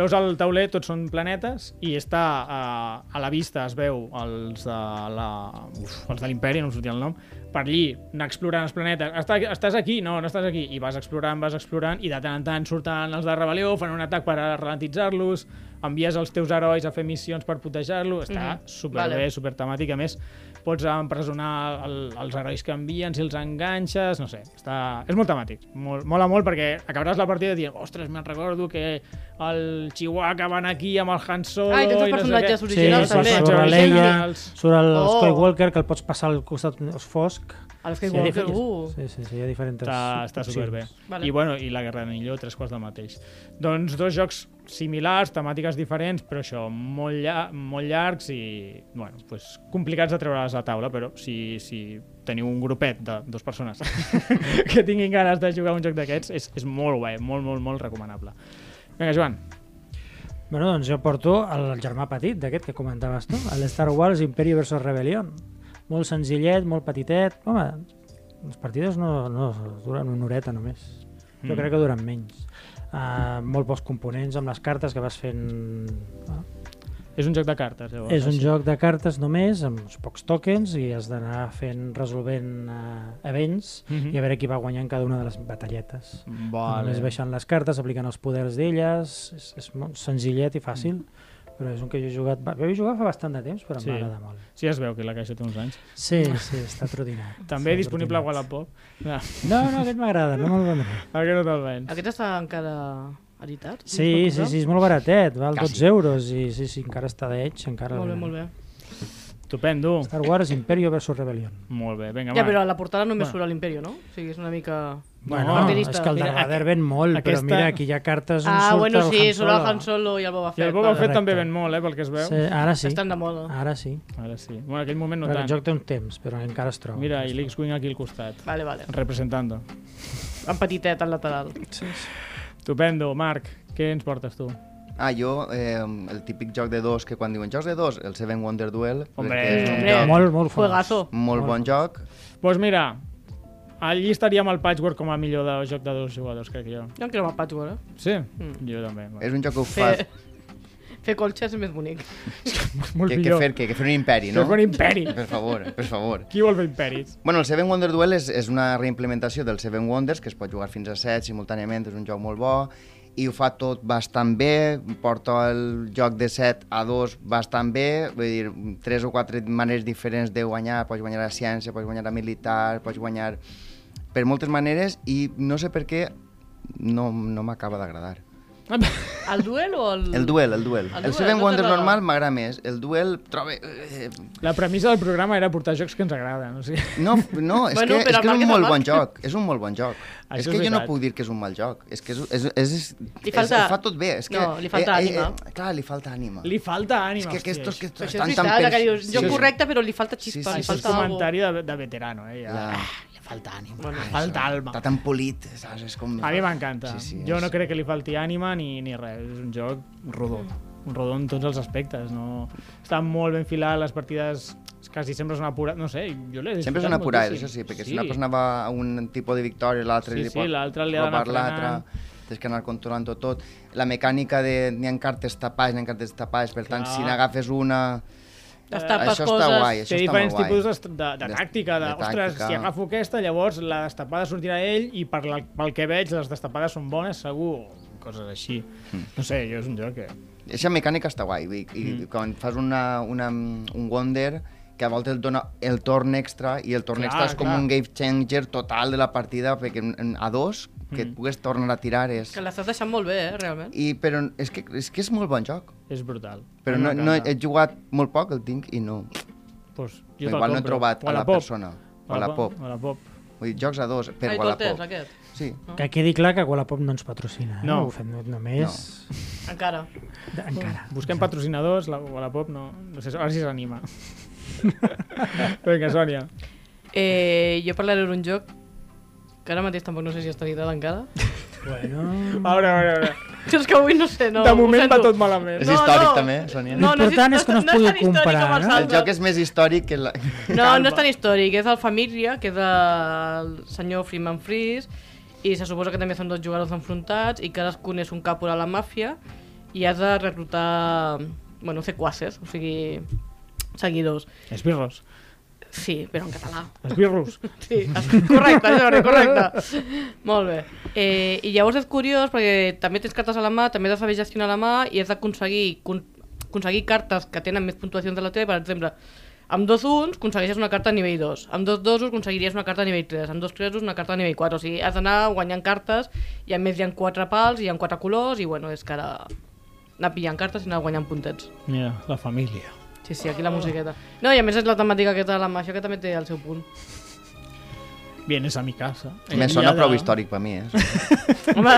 [SPEAKER 1] Veus el tauler, tots són planetes, i està eh, a la vista, es veu, els de la... Uf, els de l'Imperi, no em sortia el nom, per allí, anar explorant els planetes. Està, estàs aquí? No, no estàs aquí. I vas explorant, vas explorant, i de tant en tant surten els de rebel·lió, fan un atac per ralentitzar-los, envies els teus herois a fer missions per protejar-lo, està
[SPEAKER 4] Mhm.
[SPEAKER 1] superbé,
[SPEAKER 4] Vale.
[SPEAKER 1] super temàtic, a més pots empresonar el, els herois que envien, si els enganxes, no sé, està... és molt temàtic, molt, mola molt perquè acabaràs la partida dient, ostres, me'n recordo que el Chihuahua va anar aquí amb el Han Solo
[SPEAKER 4] Ah, i tots els
[SPEAKER 1] no sé
[SPEAKER 4] personatges
[SPEAKER 1] què".
[SPEAKER 2] Sí,
[SPEAKER 4] originals
[SPEAKER 1] Sí,
[SPEAKER 4] també.
[SPEAKER 1] els
[SPEAKER 2] sobre la
[SPEAKER 1] personatges
[SPEAKER 2] Leia,
[SPEAKER 1] originals.
[SPEAKER 2] sobre el
[SPEAKER 4] Oh.
[SPEAKER 2] Skywalker, que el pots passar al costat és fosc.
[SPEAKER 4] Els que
[SPEAKER 2] Sí, hi ha
[SPEAKER 4] igual que
[SPEAKER 2] diferents-
[SPEAKER 4] uh,
[SPEAKER 2] sí, sí, sí, hi ha diferents
[SPEAKER 1] Està, està
[SPEAKER 2] opcions.
[SPEAKER 1] superbé.
[SPEAKER 4] Vale.
[SPEAKER 1] Vale. I, bueno, I la Guerra de Nilló, tres quarts del mateix. Doncs dos jocs similars, temàtiques diferents, però això, molt, llar molt llargs i bueno, pues, complicats de treure-les a taula, però si, si teniu un grupet de dues persones que tinguin ganes de jugar a un joc d'aquests, és, és molt guai, molt, molt, molt recomanable. Vinga, Joan.
[SPEAKER 2] Bueno, doncs jo porto el germà petit d'aquest que comentaves tu, el Star Wars Imperi vs Rebellion. Molt senzillet, molt petitet. Home, les partides no, no duren una horeta només. Jo
[SPEAKER 1] Mm.
[SPEAKER 2] crec que duren menys. Uh, molt pocs components amb les cartes que vas fent...
[SPEAKER 1] Ah,
[SPEAKER 2] Uh,
[SPEAKER 1] És un joc de cartes, llavors.
[SPEAKER 2] és un joc de cartes només, amb uns pocs tokens, i has d'anar fent, resolvent uh, events,
[SPEAKER 1] Mhm.
[SPEAKER 2] i a veure qui va guanyant cada una de les batalletes. Vale.
[SPEAKER 1] Vale.
[SPEAKER 2] Només baixant les cartes, aplicant els poders d'elles, és, és molt senzillet i fàcil, però és un que jo he jugat... Va, vaig jugar fa bastant de temps, però
[SPEAKER 1] Mm. Sí.
[SPEAKER 2] sí. m'agrada molt.
[SPEAKER 1] Sí, es veu que la caixa té uns anys.
[SPEAKER 2] Sí, sí, està trotinat.
[SPEAKER 1] També
[SPEAKER 2] està
[SPEAKER 1] disponible a
[SPEAKER 2] trotinat.
[SPEAKER 1] Wallapop. No,
[SPEAKER 2] No, no, aquest m'agrada, no me'l vendré.
[SPEAKER 1] a que no te'l vens.
[SPEAKER 4] Aquest està encara editat?
[SPEAKER 2] Sí, sí, sí, és molt baratet, val
[SPEAKER 3] Quasi.
[SPEAKER 2] 12 euros, i sí, sí, encara està d'edge, encara...
[SPEAKER 4] Molt bé, molt bé.
[SPEAKER 1] Estupendo.
[SPEAKER 2] Star Wars Imperio vs Rebellion.
[SPEAKER 1] Molt bé, vinga,
[SPEAKER 4] Ja,
[SPEAKER 1] va.
[SPEAKER 4] però a la portada només
[SPEAKER 1] Bueno.
[SPEAKER 4] surt l'Imperio, no? O sigui, és una mica...
[SPEAKER 2] Bueno,
[SPEAKER 4] Carterista.
[SPEAKER 2] és que el
[SPEAKER 1] Mira,
[SPEAKER 2] Darvader ven molt,
[SPEAKER 1] aquesta-
[SPEAKER 2] però mira, aquí hi ha cartes on
[SPEAKER 4] Ah,
[SPEAKER 2] surt
[SPEAKER 4] bueno,
[SPEAKER 2] el
[SPEAKER 4] sí,
[SPEAKER 2] Han
[SPEAKER 4] surt el
[SPEAKER 2] Solo.
[SPEAKER 4] Han Solo i el Boba
[SPEAKER 1] I
[SPEAKER 4] Fett.
[SPEAKER 1] el Boba
[SPEAKER 4] vale.
[SPEAKER 1] Fett
[SPEAKER 2] Correcte.
[SPEAKER 1] també ven molt, eh, pel que es veu.
[SPEAKER 2] Sí, ara sí, Ah.
[SPEAKER 4] Estan de moda.
[SPEAKER 2] ara sí.
[SPEAKER 1] Ara sí. Bueno, en aquell moment no
[SPEAKER 2] Però el
[SPEAKER 1] tant.
[SPEAKER 2] joc té un temps, però encara es troba.
[SPEAKER 1] Mira, i l'X-Wing aquí al costat,
[SPEAKER 4] Vale, vale.
[SPEAKER 1] representando.
[SPEAKER 4] En petitet, al lateral.
[SPEAKER 2] Sí, sí.
[SPEAKER 1] Estupendo, Marc, què ens portes tu?
[SPEAKER 3] Ah, jo, eh, el típic joc de dos, que quan diuen jocs de dos, el Seven Wonder Duel,
[SPEAKER 1] Hombre.
[SPEAKER 3] perquè és un
[SPEAKER 4] Hombre.
[SPEAKER 3] joc molt,
[SPEAKER 2] Molt, molt fort.
[SPEAKER 4] Juegazo.
[SPEAKER 2] Molt
[SPEAKER 3] bon joc.
[SPEAKER 1] Doncs pues mira, allí estaríem el Patchwork com a millor de joc de dos jugadors, crec jo.
[SPEAKER 4] Jo em creu el patchwork, eh?
[SPEAKER 1] Sí?
[SPEAKER 4] Mm.
[SPEAKER 1] Jo també. va.
[SPEAKER 3] És un joc que ho fa...
[SPEAKER 4] Fer, fer colxes és més bonic.
[SPEAKER 1] molt
[SPEAKER 3] Que, que,
[SPEAKER 1] millor.
[SPEAKER 3] fer, que, que fer un imperi,
[SPEAKER 1] no?
[SPEAKER 3] no?
[SPEAKER 1] És un imperi.
[SPEAKER 3] Per favor, per favor.
[SPEAKER 1] Qui vol fer imperis?
[SPEAKER 3] Bueno, el Seven Wonder Duel és, és una reimplementació del Seven Wonders, que es pot jugar fins a 7 simultàniament, és un joc molt bo, i ho fa tot bastant bé, porta el joc de 7 a 2 bastant bé, vull dir, tres o quatre maneres diferents de guanyar, pots guanyar a ciència, pots guanyar a militar, pots guanyar per moltes maneres, i no sé per què no, no m'acaba d'agradar.
[SPEAKER 4] El duel o el...
[SPEAKER 3] El duel, el duel.
[SPEAKER 4] El
[SPEAKER 3] El,
[SPEAKER 4] duel,
[SPEAKER 3] Seven
[SPEAKER 4] no
[SPEAKER 3] Wonders
[SPEAKER 4] t'agrada?
[SPEAKER 3] normal m'agrada més, el duel trobe... eh,
[SPEAKER 1] La premissa del programa era portar jocs que ens agraden, o sigui...
[SPEAKER 3] No, no, és
[SPEAKER 4] Bueno,
[SPEAKER 3] bueno, que,
[SPEAKER 4] però
[SPEAKER 3] és que és
[SPEAKER 4] Marc és
[SPEAKER 3] un
[SPEAKER 4] el
[SPEAKER 3] molt
[SPEAKER 4] Marc.
[SPEAKER 3] bon joc. És un molt bon joc.
[SPEAKER 1] Això
[SPEAKER 3] és
[SPEAKER 1] és
[SPEAKER 3] que jo no
[SPEAKER 1] veritat.
[SPEAKER 3] puc dir que és un mal joc. És que és, és, és, és,
[SPEAKER 4] Li
[SPEAKER 3] és
[SPEAKER 4] falta-
[SPEAKER 3] ho fa tot bé. És que,
[SPEAKER 4] No, li falta ànima.
[SPEAKER 3] Eh, clar, li falta ànima.
[SPEAKER 1] Li falta ànima,
[SPEAKER 3] és que aquests que
[SPEAKER 4] Però
[SPEAKER 3] estan
[SPEAKER 4] això és
[SPEAKER 3] tan
[SPEAKER 4] veritat,
[SPEAKER 3] pens-
[SPEAKER 4] que dius,
[SPEAKER 3] Sí,
[SPEAKER 4] jo
[SPEAKER 3] sí.
[SPEAKER 4] correcte, però li falta
[SPEAKER 3] Sí,
[SPEAKER 4] xispa, li
[SPEAKER 3] sí,
[SPEAKER 1] Això és
[SPEAKER 4] falta alguna cosa.
[SPEAKER 1] comentari de, de veterano, eh? Ja.
[SPEAKER 3] Ja.
[SPEAKER 1] li falta ànima,
[SPEAKER 4] Bueno,
[SPEAKER 1] li falta alma.
[SPEAKER 3] Està tan polit, saps? És com...
[SPEAKER 1] A mi m'encanta.
[SPEAKER 3] Sí, sí,
[SPEAKER 1] jo
[SPEAKER 3] és-
[SPEAKER 1] no crec que li falti ànima ni, ni res. És un joc rodó.
[SPEAKER 3] Mm.
[SPEAKER 1] Un rodó en tots els aspectes. No... Està molt ben filat, les partides quasi sempre són apurades. No sé, jo l'he
[SPEAKER 3] Sempre és
[SPEAKER 1] disfrutat
[SPEAKER 3] una apurada,
[SPEAKER 1] moltíssim.
[SPEAKER 3] això sí, perquè si una persona va a un tipus de victòria, l'altre
[SPEAKER 1] Sí,
[SPEAKER 3] li
[SPEAKER 1] sí,
[SPEAKER 3] pot
[SPEAKER 1] l'altre li ha d'anar
[SPEAKER 3] robar l'altre, tens que anar controlant-ho tot. La mecànica de n'hi ha cartes tapades, n'hi ha cartes tapades, per tant,
[SPEAKER 1] Clar.
[SPEAKER 3] si n'agafes una...
[SPEAKER 4] Les tapes
[SPEAKER 3] Ah, això
[SPEAKER 4] coses,
[SPEAKER 3] està guai,
[SPEAKER 1] Té
[SPEAKER 3] això està
[SPEAKER 1] diferents
[SPEAKER 3] molt guai.
[SPEAKER 1] tipus de, de, de
[SPEAKER 3] De-
[SPEAKER 1] tàctica, de,
[SPEAKER 3] de
[SPEAKER 1] ostres,
[SPEAKER 3] tàctica.
[SPEAKER 1] si agafo aquesta, llavors la destapada sortirà a ell i per la, pel que veig les destapades són bones, segur, coses així.
[SPEAKER 3] Hmm.
[SPEAKER 1] No sé, jo és un joc que...
[SPEAKER 3] Aquesta mecànica està guai, i, i mm. quan fas una, una, un Wonder que a voltes et dona el torn extra i el torn
[SPEAKER 1] Clar,
[SPEAKER 3] extra és com
[SPEAKER 1] clar.
[SPEAKER 3] un game changer total de la partida perquè en- en- a dos que
[SPEAKER 1] Mm.
[SPEAKER 3] et pugues tornar a tirar és...
[SPEAKER 4] Que l'estàs deixant molt bé, eh, realment.
[SPEAKER 3] I, però és que, és que és molt bon joc.
[SPEAKER 1] És brutal. A
[SPEAKER 3] Però
[SPEAKER 1] mi
[SPEAKER 3] no, no,
[SPEAKER 1] m'encanta.
[SPEAKER 3] he jugat molt poc, el tinc, i no.
[SPEAKER 1] Pues, jo te'l
[SPEAKER 3] Igual no he
[SPEAKER 1] compro.
[SPEAKER 3] trobat
[SPEAKER 1] O
[SPEAKER 3] a la
[SPEAKER 1] Pop.
[SPEAKER 3] persona. O a la pop.
[SPEAKER 1] A la pop.
[SPEAKER 3] Vull dir, jocs a dos per
[SPEAKER 4] Ai, tu el tens,
[SPEAKER 3] Wallapop.
[SPEAKER 4] aquest.
[SPEAKER 3] Sí.
[SPEAKER 2] Que quedi clar que Wallapop no ens patrocina. Eh?
[SPEAKER 1] No.
[SPEAKER 2] Ho fem només...
[SPEAKER 4] Encara.
[SPEAKER 2] No. Encara.
[SPEAKER 1] Busquem patrocinadors, la, a la pop no... no sé, ara si s'anima. Vinga, Sònia.
[SPEAKER 4] Eh, jo parlaré d'un joc que ara mateix tampoc no sé si està editat encara.
[SPEAKER 2] Bueno...
[SPEAKER 1] A veure, a veure, a veure.
[SPEAKER 4] és que avui no sé, no.
[SPEAKER 1] de
[SPEAKER 4] ho
[SPEAKER 1] moment va
[SPEAKER 4] sento.
[SPEAKER 1] tot malament.
[SPEAKER 3] És històric, també, eh, Sonia.
[SPEAKER 2] L'important és que no es
[SPEAKER 4] tan
[SPEAKER 2] pugui
[SPEAKER 4] històric com
[SPEAKER 2] comparar, eh?
[SPEAKER 4] els
[SPEAKER 2] no?
[SPEAKER 3] El
[SPEAKER 4] altres.
[SPEAKER 3] joc és més històric que la...
[SPEAKER 4] No, no és tan històric, és el Família, que és del senyor Freeman Fries, i se suposa que també són dos jugadors enfrontats i cadascun és un càpula a la màfia i has de reclutar, bueno, sequaces, o sigui, seguidors.
[SPEAKER 1] Esbirros.
[SPEAKER 4] Sí, però en català.
[SPEAKER 1] Esbirros.
[SPEAKER 4] Sí, correcte, Jordi, correcte. Molt bé. Eh, I llavors és curiós perquè també tens cartes a la mà, també has de saber gestionar la mà i has d'aconseguir con- aconseguir cartes que tenen més puntuacions de la teva, per exemple, amb dos uns aconsegueixes una carta a nivell 2, amb dos dosos aconseguiries una carta a nivell 3, amb dos tresos una carta a nivell 4, o sigui, has d'anar guanyant cartes i a més hi ha quatre pals, hi ha quatre colors i bueno, és que ara anar pillant cartes i anar guanyant puntets.
[SPEAKER 1] Mira, la família.
[SPEAKER 4] Sí, sí, aquí la musiqueta. No, i a més és la temàtica aquesta de la màgia que també té el seu punt.
[SPEAKER 1] Vienes a mi casa.
[SPEAKER 3] Me
[SPEAKER 1] Enviada-
[SPEAKER 3] sona prou històric per mi, eh?
[SPEAKER 4] Home,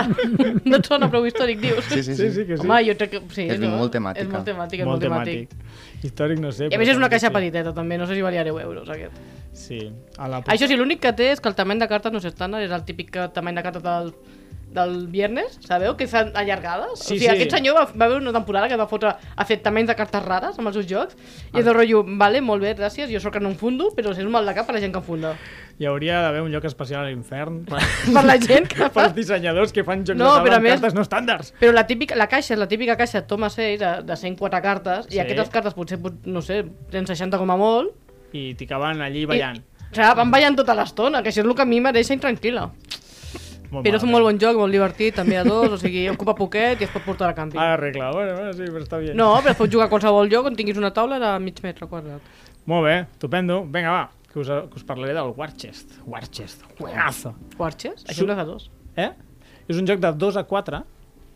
[SPEAKER 4] no et sona prou històric, dius?
[SPEAKER 3] Sí, sí, sí.
[SPEAKER 1] Sí, sí que sí.
[SPEAKER 4] Home, jo crec que... Sí,
[SPEAKER 3] És molt temàtica.
[SPEAKER 4] És molt temàtic, és
[SPEAKER 1] Molt
[SPEAKER 4] molt, temàtic.
[SPEAKER 1] Històric no sé.
[SPEAKER 4] I a més és una caixa
[SPEAKER 1] petita.
[SPEAKER 4] petiteta també, no sé si valia 10 euros aquest.
[SPEAKER 1] Sí. A la
[SPEAKER 4] Això sí, l'únic que té és que el tamany de cartes no és estàndard, és el típic que- tamany de cartes del, del viernes, sabeu? Que són allargades.
[SPEAKER 1] Sí,
[SPEAKER 4] o sigui,
[SPEAKER 1] sí.
[SPEAKER 4] aquest senyor va, va haver una temporada que es va fotre, ha fet tamanys de cartes rares amb els seus jocs, i
[SPEAKER 1] Ah.
[SPEAKER 4] és del rotllo, vale, molt bé, gràcies, jo sóc que no em fundo, però és un mal de cap per la gent que en funda.
[SPEAKER 1] Hi hauria d'haver un lloc especial a l'infern per,
[SPEAKER 4] per la gent que fa...
[SPEAKER 1] pels dissenyadors que fan jocs
[SPEAKER 4] No,
[SPEAKER 1] de
[SPEAKER 4] però
[SPEAKER 1] taula
[SPEAKER 4] a
[SPEAKER 1] amb
[SPEAKER 4] més-
[SPEAKER 1] cartes no estàndards.
[SPEAKER 4] Però la, típica, la caixa és la típica caixa Toma 6 de, de 104 cartes
[SPEAKER 1] Sí.
[SPEAKER 4] i aquestes cartes potser, pot- no sé, tenen 60 com a molt
[SPEAKER 1] I t'hi acaben allí ballant.
[SPEAKER 4] I, o sigui, van ballant tota l'estona, que això és el que a mi em mereix intranquil·la. Però és un molt bon joc, molt divertit, també a dos, o sigui, ocupa poquet i es pot portar a canvi.
[SPEAKER 1] Ara Ah, arregla, bueno, bueno, sí, però està bé.
[SPEAKER 4] No, però es pot jugar a qualsevol lloc on tinguis una taula de mig metre quadrat.
[SPEAKER 1] Molt bé, estupendo. Vinga, va, que us, que us parlaré del Warchest. Warchest, juegazo.
[SPEAKER 4] Quartxes?
[SPEAKER 1] Su-
[SPEAKER 4] Això no és a dos.
[SPEAKER 1] Eh? És un joc de 2 a 4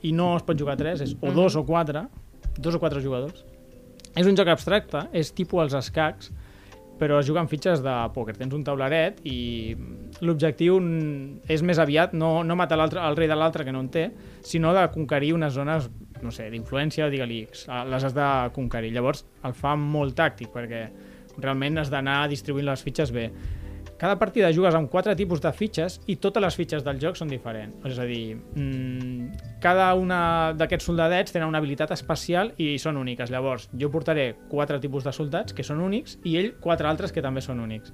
[SPEAKER 1] i no es pot jugar a 3, és o 2 o 4, 2 o 4 jugadors. És un joc abstracte, és tipus els escacs, però es juga amb fitxes de pòquer. Tens un tauleret i l'objectiu n- és més aviat no, no matar l'altre- el rei de l'altre que no en té, sinó de conquerir unes zones no sé, d'influència, digue-li, Ah, les has de conquerir. Llavors el fa molt tàctic perquè realment has d'anar distribuint les fitxes bé. Cada partida jugues amb quatre tipus de fitxes i totes les fitxes del joc són diferents. És a dir, mm, cada una d'aquests soldadets tenen una habilitat especial i són úniques. Llavors, jo portaré quatre tipus de soldats que són únics i ell quatre altres que també són únics.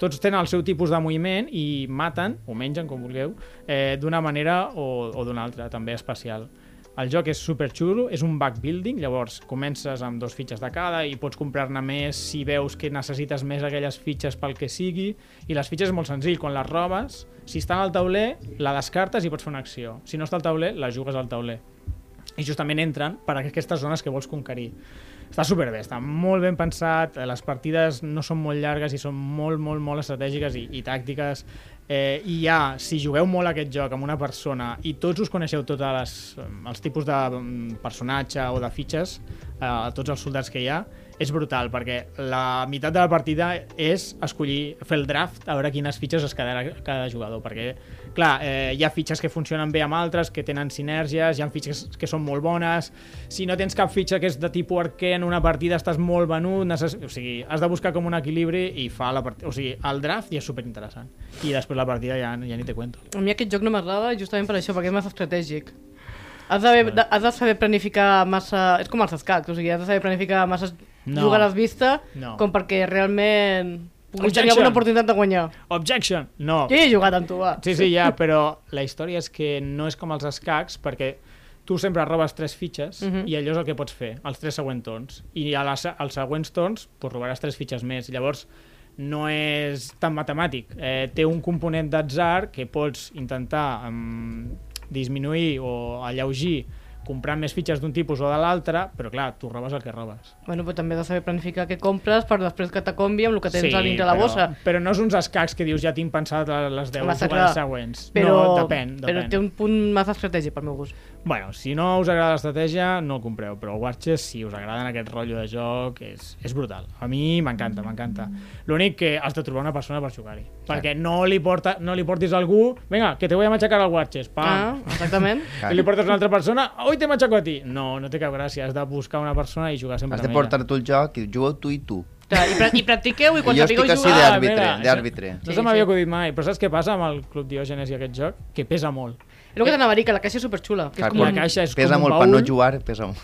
[SPEAKER 1] Tots tenen el seu tipus de moviment i maten, o mengen, com vulgueu, eh, d'una manera o, o d'una altra, també especial. El joc és superxulo, és un backbuilding, llavors comences amb dos fitxes de cada i pots comprar-ne més si veus que necessites més aquelles fitxes pel que sigui. I les fitxes és molt senzill, quan les robes, si està al tauler, la descartes i pots fer una acció. Si no està al tauler, la jugues al tauler. I justament entren per a aquestes zones que vols conquerir. Està superbé, està molt ben pensat, eh, les partides no són molt llargues i són molt, molt, molt estratègiques i, i tàctiques. Eh, I ja, si jugueu molt a aquest joc amb una persona i tots us coneixeu tots les, eh, els tipus de mm, personatge o de fitxes, eh, tots els soldats que hi ha, és brutal, perquè la meitat de la partida és escollir, fer el draft, a veure quines fitxes es quedarà cada jugador, perquè, clar, eh, hi ha fitxes que funcionen bé amb altres, que tenen sinergies, hi ha fitxes que són molt bones, si no tens cap fitxa que és de tipus arquer en una partida estàs molt venut, necess... o sigui, has de buscar com un equilibri i fa la partida, o sigui, el draft ja és superinteressant, i després la partida ja, ja ni te cuento.
[SPEAKER 4] A mi aquest joc no m'agrada justament per això, perquè és massa estratègic. Has de, de, has de saber planificar massa... És com els escacs, o sigui, has de saber planificar massa
[SPEAKER 1] No.
[SPEAKER 4] no. jugar a les vistes
[SPEAKER 1] No.
[SPEAKER 4] no. com perquè realment puguis
[SPEAKER 1] Objection.
[SPEAKER 4] tenir alguna oportunitat de guanyar.
[SPEAKER 1] Objection! No!
[SPEAKER 4] Jo hi he jugat amb tu, va.
[SPEAKER 1] Oh. Sí, sí, ja, però la història és que no és com els escacs, perquè tu sempre robes tres fitxes
[SPEAKER 4] Mhm.
[SPEAKER 1] i allò és el que pots fer, els tres següents torns. I a les, als següents torns pues, robaràs tres fitxes més. Llavors, no és tan matemàtic. Eh, té un component d'atzar que pots intentar um, disminuir mm, o alleugir comprar més fitxes d'un tipus o de l'altre, però clar, tu robes el que robes.
[SPEAKER 4] Bueno, però també has de saber planificar què compres per després que t'acombi amb el que tens a dintre la
[SPEAKER 1] però,
[SPEAKER 4] bossa.
[SPEAKER 1] Però no és uns escacs que dius ja tinc pensat a les 10
[SPEAKER 4] Massa
[SPEAKER 1] jugades
[SPEAKER 4] clar.
[SPEAKER 1] següents.
[SPEAKER 4] Però,
[SPEAKER 1] no, depèn, depèn.
[SPEAKER 4] però té un punt massa estratègia pel meu gust.
[SPEAKER 1] Bueno, si no us agrada l'estratègia, no el compreu, però Warches, si us agraden aquest rotllo de joc, és, és brutal. A mi m'encanta, m'encanta. L'únic que has de trobar una persona per jugar-hi, perquè no li, porta, no li portis algú, vinga, que te voy a machacar al Warches,
[SPEAKER 4] Ah,
[SPEAKER 1] pam,
[SPEAKER 4] exactament.
[SPEAKER 1] ah. i li portes una altra persona, oi te machaco a ti. No, no té cap gràcia, has de buscar una persona i jugar sempre
[SPEAKER 3] Has de
[SPEAKER 1] amb
[SPEAKER 3] portar tu el joc i jugueu tu i tu.
[SPEAKER 4] Clar, I, pra I practiqueu i quan
[SPEAKER 3] jo
[SPEAKER 4] sapigueu
[SPEAKER 3] estic així
[SPEAKER 4] jugar...
[SPEAKER 1] de-
[SPEAKER 3] d'àrbitre,
[SPEAKER 1] Ah, mira,
[SPEAKER 3] d'àrbitre.
[SPEAKER 1] ella. No
[SPEAKER 4] Sí,
[SPEAKER 1] se m'havia
[SPEAKER 4] sí.
[SPEAKER 1] acudit mai, però saps què passa amb el Club Diògenes i aquest joc? Que pesa molt.
[SPEAKER 4] És el que t'anava a dir, que la caixa és superxula. Que
[SPEAKER 3] Clar,
[SPEAKER 4] és com
[SPEAKER 1] la
[SPEAKER 4] un...
[SPEAKER 1] caixa és
[SPEAKER 3] Pesa
[SPEAKER 1] com un
[SPEAKER 3] molt
[SPEAKER 1] baúl.
[SPEAKER 3] per no jugar, pesa molt.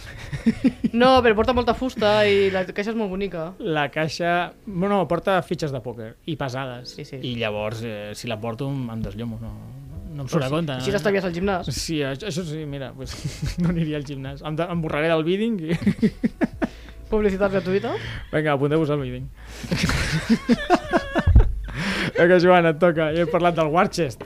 [SPEAKER 4] No, però porta molta fusta i la caixa és molt bonica.
[SPEAKER 1] la caixa... Bueno, porta fitxes de pòquer i pesades.
[SPEAKER 4] Sí, sí.
[SPEAKER 1] I llavors, eh, si la porto, em em desllamo. No, no em surt a compte.
[SPEAKER 4] Així
[SPEAKER 1] no?
[SPEAKER 4] t'estalvies al gimnàs.
[SPEAKER 1] Sí, això, això sí, mira, pues, no aniria al gimnàs. Em, de- em borraré del bidding i...
[SPEAKER 4] Publicitat gratuïta.
[SPEAKER 1] Vinga, apunteu-vos al bidding. Vinga, Joan, et toca. Jo he parlat del Warchest.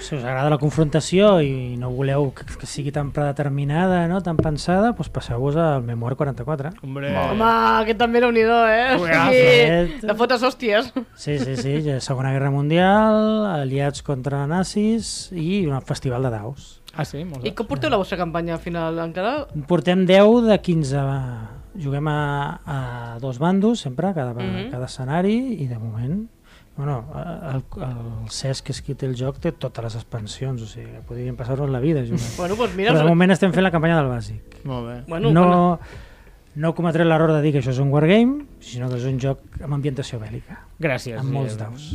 [SPEAKER 2] Si us agrada la confrontació i no voleu que, que sigui tan predeterminada, no? tan pensada, doncs passeu-vos al Memoir 44.
[SPEAKER 1] Hombre,
[SPEAKER 3] Molt
[SPEAKER 4] Home, aquest també era un idó, eh? O sigui,
[SPEAKER 2] Cuidado.
[SPEAKER 4] la fotes hòsties.
[SPEAKER 2] Sí, sí, sí, ja Segona Guerra Mundial, aliats contra nazis i un festival de daus.
[SPEAKER 1] Ah, sí? Molts...
[SPEAKER 4] I com porteu la vostra campanya al final? Encara?
[SPEAKER 2] Portem 10 de 15. va. Juguem a, a dos bandos, sempre, cada,
[SPEAKER 4] Mhm.
[SPEAKER 2] mm cada escenari, i de moment... Bueno, el, el Cesc, que és qui té el joc, té totes les expansions, o sigui, que podríem passar-nos la vida jugant.
[SPEAKER 4] Bueno, doncs mira...
[SPEAKER 2] Però de moment estem fent la campanya del bàsic.
[SPEAKER 1] Molt bé.
[SPEAKER 4] Bueno,
[SPEAKER 2] no,
[SPEAKER 4] bueno.
[SPEAKER 2] no cometré l'error de dir que això és un wargame, sinó que és un joc amb ambientació bèl·lica,
[SPEAKER 1] Gràcies.
[SPEAKER 2] amb
[SPEAKER 1] eh,
[SPEAKER 2] molts daus.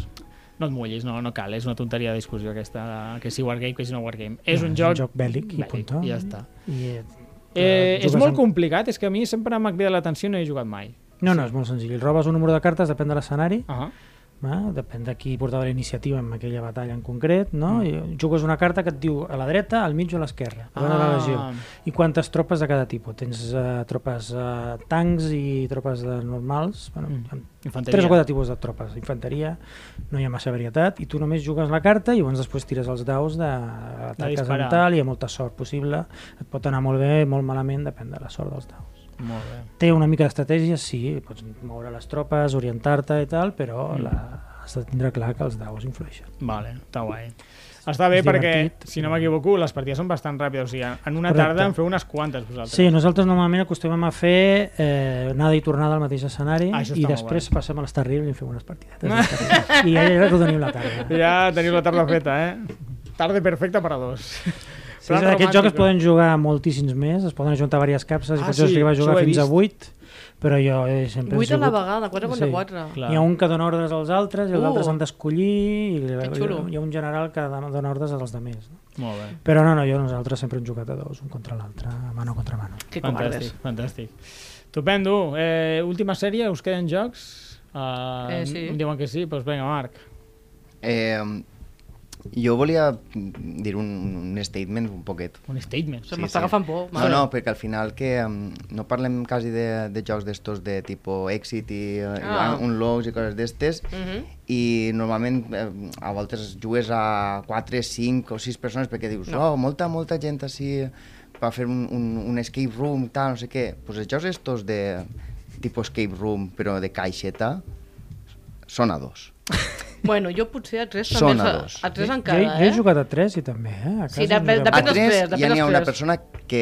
[SPEAKER 1] No et mullis, no, no cal, és una tonteria de discussió aquesta, que si Wargame, que si no Wargame. És
[SPEAKER 2] No,
[SPEAKER 1] un
[SPEAKER 2] és
[SPEAKER 1] joc...
[SPEAKER 2] un joc bèl·lic i punto.
[SPEAKER 1] I ja està.
[SPEAKER 2] I,
[SPEAKER 1] Eh, és
[SPEAKER 2] jugues
[SPEAKER 1] molt
[SPEAKER 2] amb-
[SPEAKER 1] complicat, és que a mi sempre m'ha cridat l'atenció i no he jugat mai.
[SPEAKER 2] no, no, és molt senzill. Robes un número de cartes, depèn de l'escenari,
[SPEAKER 1] Uh -huh.
[SPEAKER 2] Va? Depèn de qui portava la iniciativa en aquella batalla en concret, no? Mm. I jugues una carta que et diu a la dreta, al mig o a l'esquerra, ah. la legió. I quantes tropes de cada tipus? Tens uh, tropes uh, tancs i tropes de normals, bueno,
[SPEAKER 1] Mm.
[SPEAKER 2] mm.
[SPEAKER 1] Infanteria.
[SPEAKER 2] tres o quatre tipus de tropes. Infanteria, no hi ha massa varietat, i tu només jugues la carta i llavors després tires els daus de l'atac
[SPEAKER 1] disparar.
[SPEAKER 2] mental, hi ha molta sort possible, et pot anar molt bé, molt malament, depèn de la sort dels daus.
[SPEAKER 1] Molt bé.
[SPEAKER 2] Té una mica d'estratègia, sí, pots moure les tropes, orientar-te i tal, però mm. la, has de tindre clar que els daus influeixen.
[SPEAKER 1] Vale, està guai. Està bé
[SPEAKER 2] És
[SPEAKER 1] perquè,
[SPEAKER 2] divertit.
[SPEAKER 1] si no m'equivoco, les partides són bastant ràpides. O sigui, en una
[SPEAKER 2] Correcte.
[SPEAKER 1] tarda en feu unes quantes vosaltres.
[SPEAKER 2] Sí, nosaltres normalment acostumem a fer eh, anada i tornada al mateix escenari
[SPEAKER 1] Ah, això
[SPEAKER 2] i
[SPEAKER 1] està molt
[SPEAKER 2] després
[SPEAKER 1] guai.
[SPEAKER 2] passem a l'estarril i fem unes partidetes. d'estarril. I ja rodonim la tarda.
[SPEAKER 1] Ja teniu la tarda feta, eh? Tarda perfecta per a dos.
[SPEAKER 2] Sí,
[SPEAKER 1] Plan
[SPEAKER 2] és d'aquests jocs es
[SPEAKER 1] romàntico.
[SPEAKER 2] poden jugar moltíssims més, es poden ajuntar diverses capses,
[SPEAKER 1] Ah,
[SPEAKER 2] ah, potser
[SPEAKER 1] sí,
[SPEAKER 2] sí, va
[SPEAKER 1] això
[SPEAKER 2] jugar
[SPEAKER 1] ho he
[SPEAKER 2] fins a
[SPEAKER 1] vist.
[SPEAKER 2] 8, però jo eh, sempre he
[SPEAKER 4] 8 a la
[SPEAKER 2] sigut-
[SPEAKER 4] vegada, 4 contra
[SPEAKER 2] Sí.
[SPEAKER 4] 4.
[SPEAKER 1] Clar.
[SPEAKER 2] Hi ha un que dona ordres als altres i els
[SPEAKER 4] Uh.
[SPEAKER 2] altres han d'escollir i
[SPEAKER 4] Que xulo.
[SPEAKER 2] hi ha un general que dona ordres als altres. No?
[SPEAKER 1] Molt bé.
[SPEAKER 2] Però no, no, jo nosaltres sempre hem jugat a dos, un contra l'altre, mano contra mano.
[SPEAKER 4] Que covardes.
[SPEAKER 1] Fantàstic, fantàstic. Estupendo. Eh, última sèrie, us queden jocs? Uh,
[SPEAKER 4] Eh, sí.
[SPEAKER 1] Em diuen que sí, doncs vinga, Marc.
[SPEAKER 3] Eh, jo volia dir un, un statement un poquet.
[SPEAKER 1] Un statement.
[SPEAKER 4] Se
[SPEAKER 3] Sí,
[SPEAKER 4] m'està
[SPEAKER 3] sí.
[SPEAKER 4] agafant por.
[SPEAKER 3] No, no, perquè al final que um, no parlem quasi de, de jocs d'estos de tipus Exit i, ah.
[SPEAKER 4] Ah.
[SPEAKER 3] i Unlocks i coses d'estes
[SPEAKER 4] Mhm.
[SPEAKER 3] i normalment eh, a voltes jugues a 4, 5 o 6 persones perquè dius, no. oh, molta, molta gent així per fer un, un, un escape room, tal, no sé què. Pues els jocs estos de tipus escape room però de caixeta són a dos.
[SPEAKER 4] Bueno, jo potser a 3
[SPEAKER 3] Són
[SPEAKER 4] també...
[SPEAKER 3] a
[SPEAKER 4] fa-
[SPEAKER 3] dos.
[SPEAKER 4] A 3
[SPEAKER 2] jo,
[SPEAKER 4] encara,
[SPEAKER 2] jo
[SPEAKER 4] eh?
[SPEAKER 2] he jugat a tres i també, eh? A casa
[SPEAKER 4] Sí, depèn-
[SPEAKER 2] juguem-
[SPEAKER 3] a
[SPEAKER 4] depèn dels
[SPEAKER 3] tres,
[SPEAKER 4] tres,
[SPEAKER 3] ja n'hi
[SPEAKER 4] depèn
[SPEAKER 3] ha
[SPEAKER 4] dels
[SPEAKER 3] una
[SPEAKER 4] tres.
[SPEAKER 3] persona que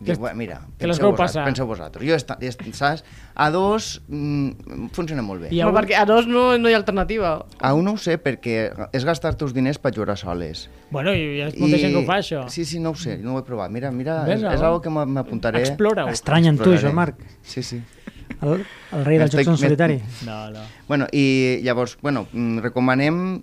[SPEAKER 3] diu, "Bueno, mira,
[SPEAKER 1] que les
[SPEAKER 3] penseu,
[SPEAKER 1] veu
[SPEAKER 3] vosaltres,
[SPEAKER 1] passar."
[SPEAKER 3] penseu vosaltres. Jo, esta, est, saps? A dos mm, funciona molt bé.
[SPEAKER 1] I
[SPEAKER 4] Però
[SPEAKER 1] algun-
[SPEAKER 4] perquè a dos no, no hi ha alternativa.
[SPEAKER 3] A un no ho sé perquè és gastar-te els diners per jugar soles.
[SPEAKER 1] Bueno, hi hi ha molta gent que ho fa, això.
[SPEAKER 3] Sí, sí, no ho sé, no ho he provat. Mira, mira,
[SPEAKER 1] Ves,
[SPEAKER 3] és,
[SPEAKER 1] no?
[SPEAKER 3] és algo que m'a- m'apuntaré.
[SPEAKER 1] Explora-ho.
[SPEAKER 2] Estrany en tu,
[SPEAKER 3] Exploraré.
[SPEAKER 2] jo, Marc.
[SPEAKER 3] Sí, sí.
[SPEAKER 2] El, el rei dels
[SPEAKER 3] Estic-
[SPEAKER 2] jocs en solitari.
[SPEAKER 1] No, no.
[SPEAKER 3] Bueno, i llavors, bueno, mm, recomanem...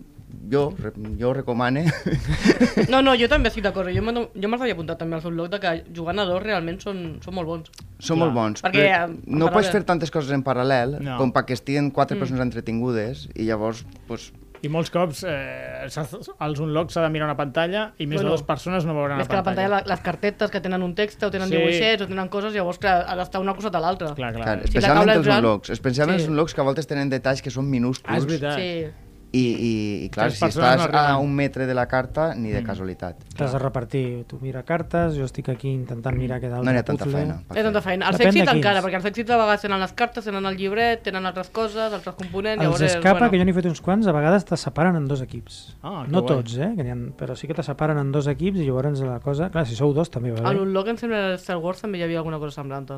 [SPEAKER 3] Jo, re- jo recomane...
[SPEAKER 4] No, no, jo també estic d'acord. Jo, m'ha- jo me'ls havia apuntat també al seu blog de que jugant a dos realment són, són molt bons.
[SPEAKER 3] Són
[SPEAKER 1] Clar.
[SPEAKER 3] molt bons,
[SPEAKER 4] Perquè,
[SPEAKER 3] però
[SPEAKER 4] eh, en Mm.
[SPEAKER 3] no pots
[SPEAKER 4] paral·lel.
[SPEAKER 3] fer tantes coses en paral·lel
[SPEAKER 1] No.
[SPEAKER 3] com perquè estiguen quatre persones entretingudes i llavors, pues,
[SPEAKER 1] I molts cops eh, s'ha- als unlocks s'ha de mirar una pantalla i més de
[SPEAKER 4] Bueno,
[SPEAKER 1] dues persones no veuran
[SPEAKER 4] Més que la pantalla, la, les cartetes que tenen un text o tenen
[SPEAKER 1] Sí.
[SPEAKER 4] sí. dibuixets o tenen coses, llavors clar, ha d'estar una cosat a l'altra.
[SPEAKER 1] Clar, clar.
[SPEAKER 3] Clar,
[SPEAKER 1] clar.
[SPEAKER 4] la
[SPEAKER 3] especialment
[SPEAKER 4] taula és
[SPEAKER 3] els
[SPEAKER 4] gran-
[SPEAKER 3] unlocks. Especialment
[SPEAKER 4] Sí.
[SPEAKER 3] els unlocks que a voltes tenen detalls que són minúsculs.
[SPEAKER 1] Ah, és veritat.
[SPEAKER 4] Sí.
[SPEAKER 3] I, i, i clar,
[SPEAKER 1] Tres
[SPEAKER 3] si
[SPEAKER 1] persones
[SPEAKER 3] estàs
[SPEAKER 1] no
[SPEAKER 3] a
[SPEAKER 1] arriben. Mm.
[SPEAKER 3] un metre de la carta, ni de casualitat.
[SPEAKER 2] T'has de repartir, tu mira cartes, jo estic aquí intentant mirar què dalt
[SPEAKER 3] No hi
[SPEAKER 2] del
[SPEAKER 3] ha tanta
[SPEAKER 2] puzzle.
[SPEAKER 3] feina. per
[SPEAKER 4] És tanta
[SPEAKER 3] fer.
[SPEAKER 4] feina. Els
[SPEAKER 2] Depèn de
[SPEAKER 4] èxits
[SPEAKER 2] quins.
[SPEAKER 4] encara, perquè els èxits de vegades tenen les cartes, tenen el llibret, tenen altres coses, altres components...
[SPEAKER 2] Els
[SPEAKER 4] llavors,
[SPEAKER 2] escapa,
[SPEAKER 4] bueno,
[SPEAKER 2] que jo n'he fet uns quants, a vegades te separen en dos equips.
[SPEAKER 1] Ah, que
[SPEAKER 2] no
[SPEAKER 1] guai.
[SPEAKER 2] tots, eh? Que n'hi ha, però sí que te separen en dos equips i llavors la cosa... Clar, si sou dos també va
[SPEAKER 4] A
[SPEAKER 2] bé.
[SPEAKER 4] l'Unlock, em sembla, de Star Wars també hi havia alguna cosa semblant.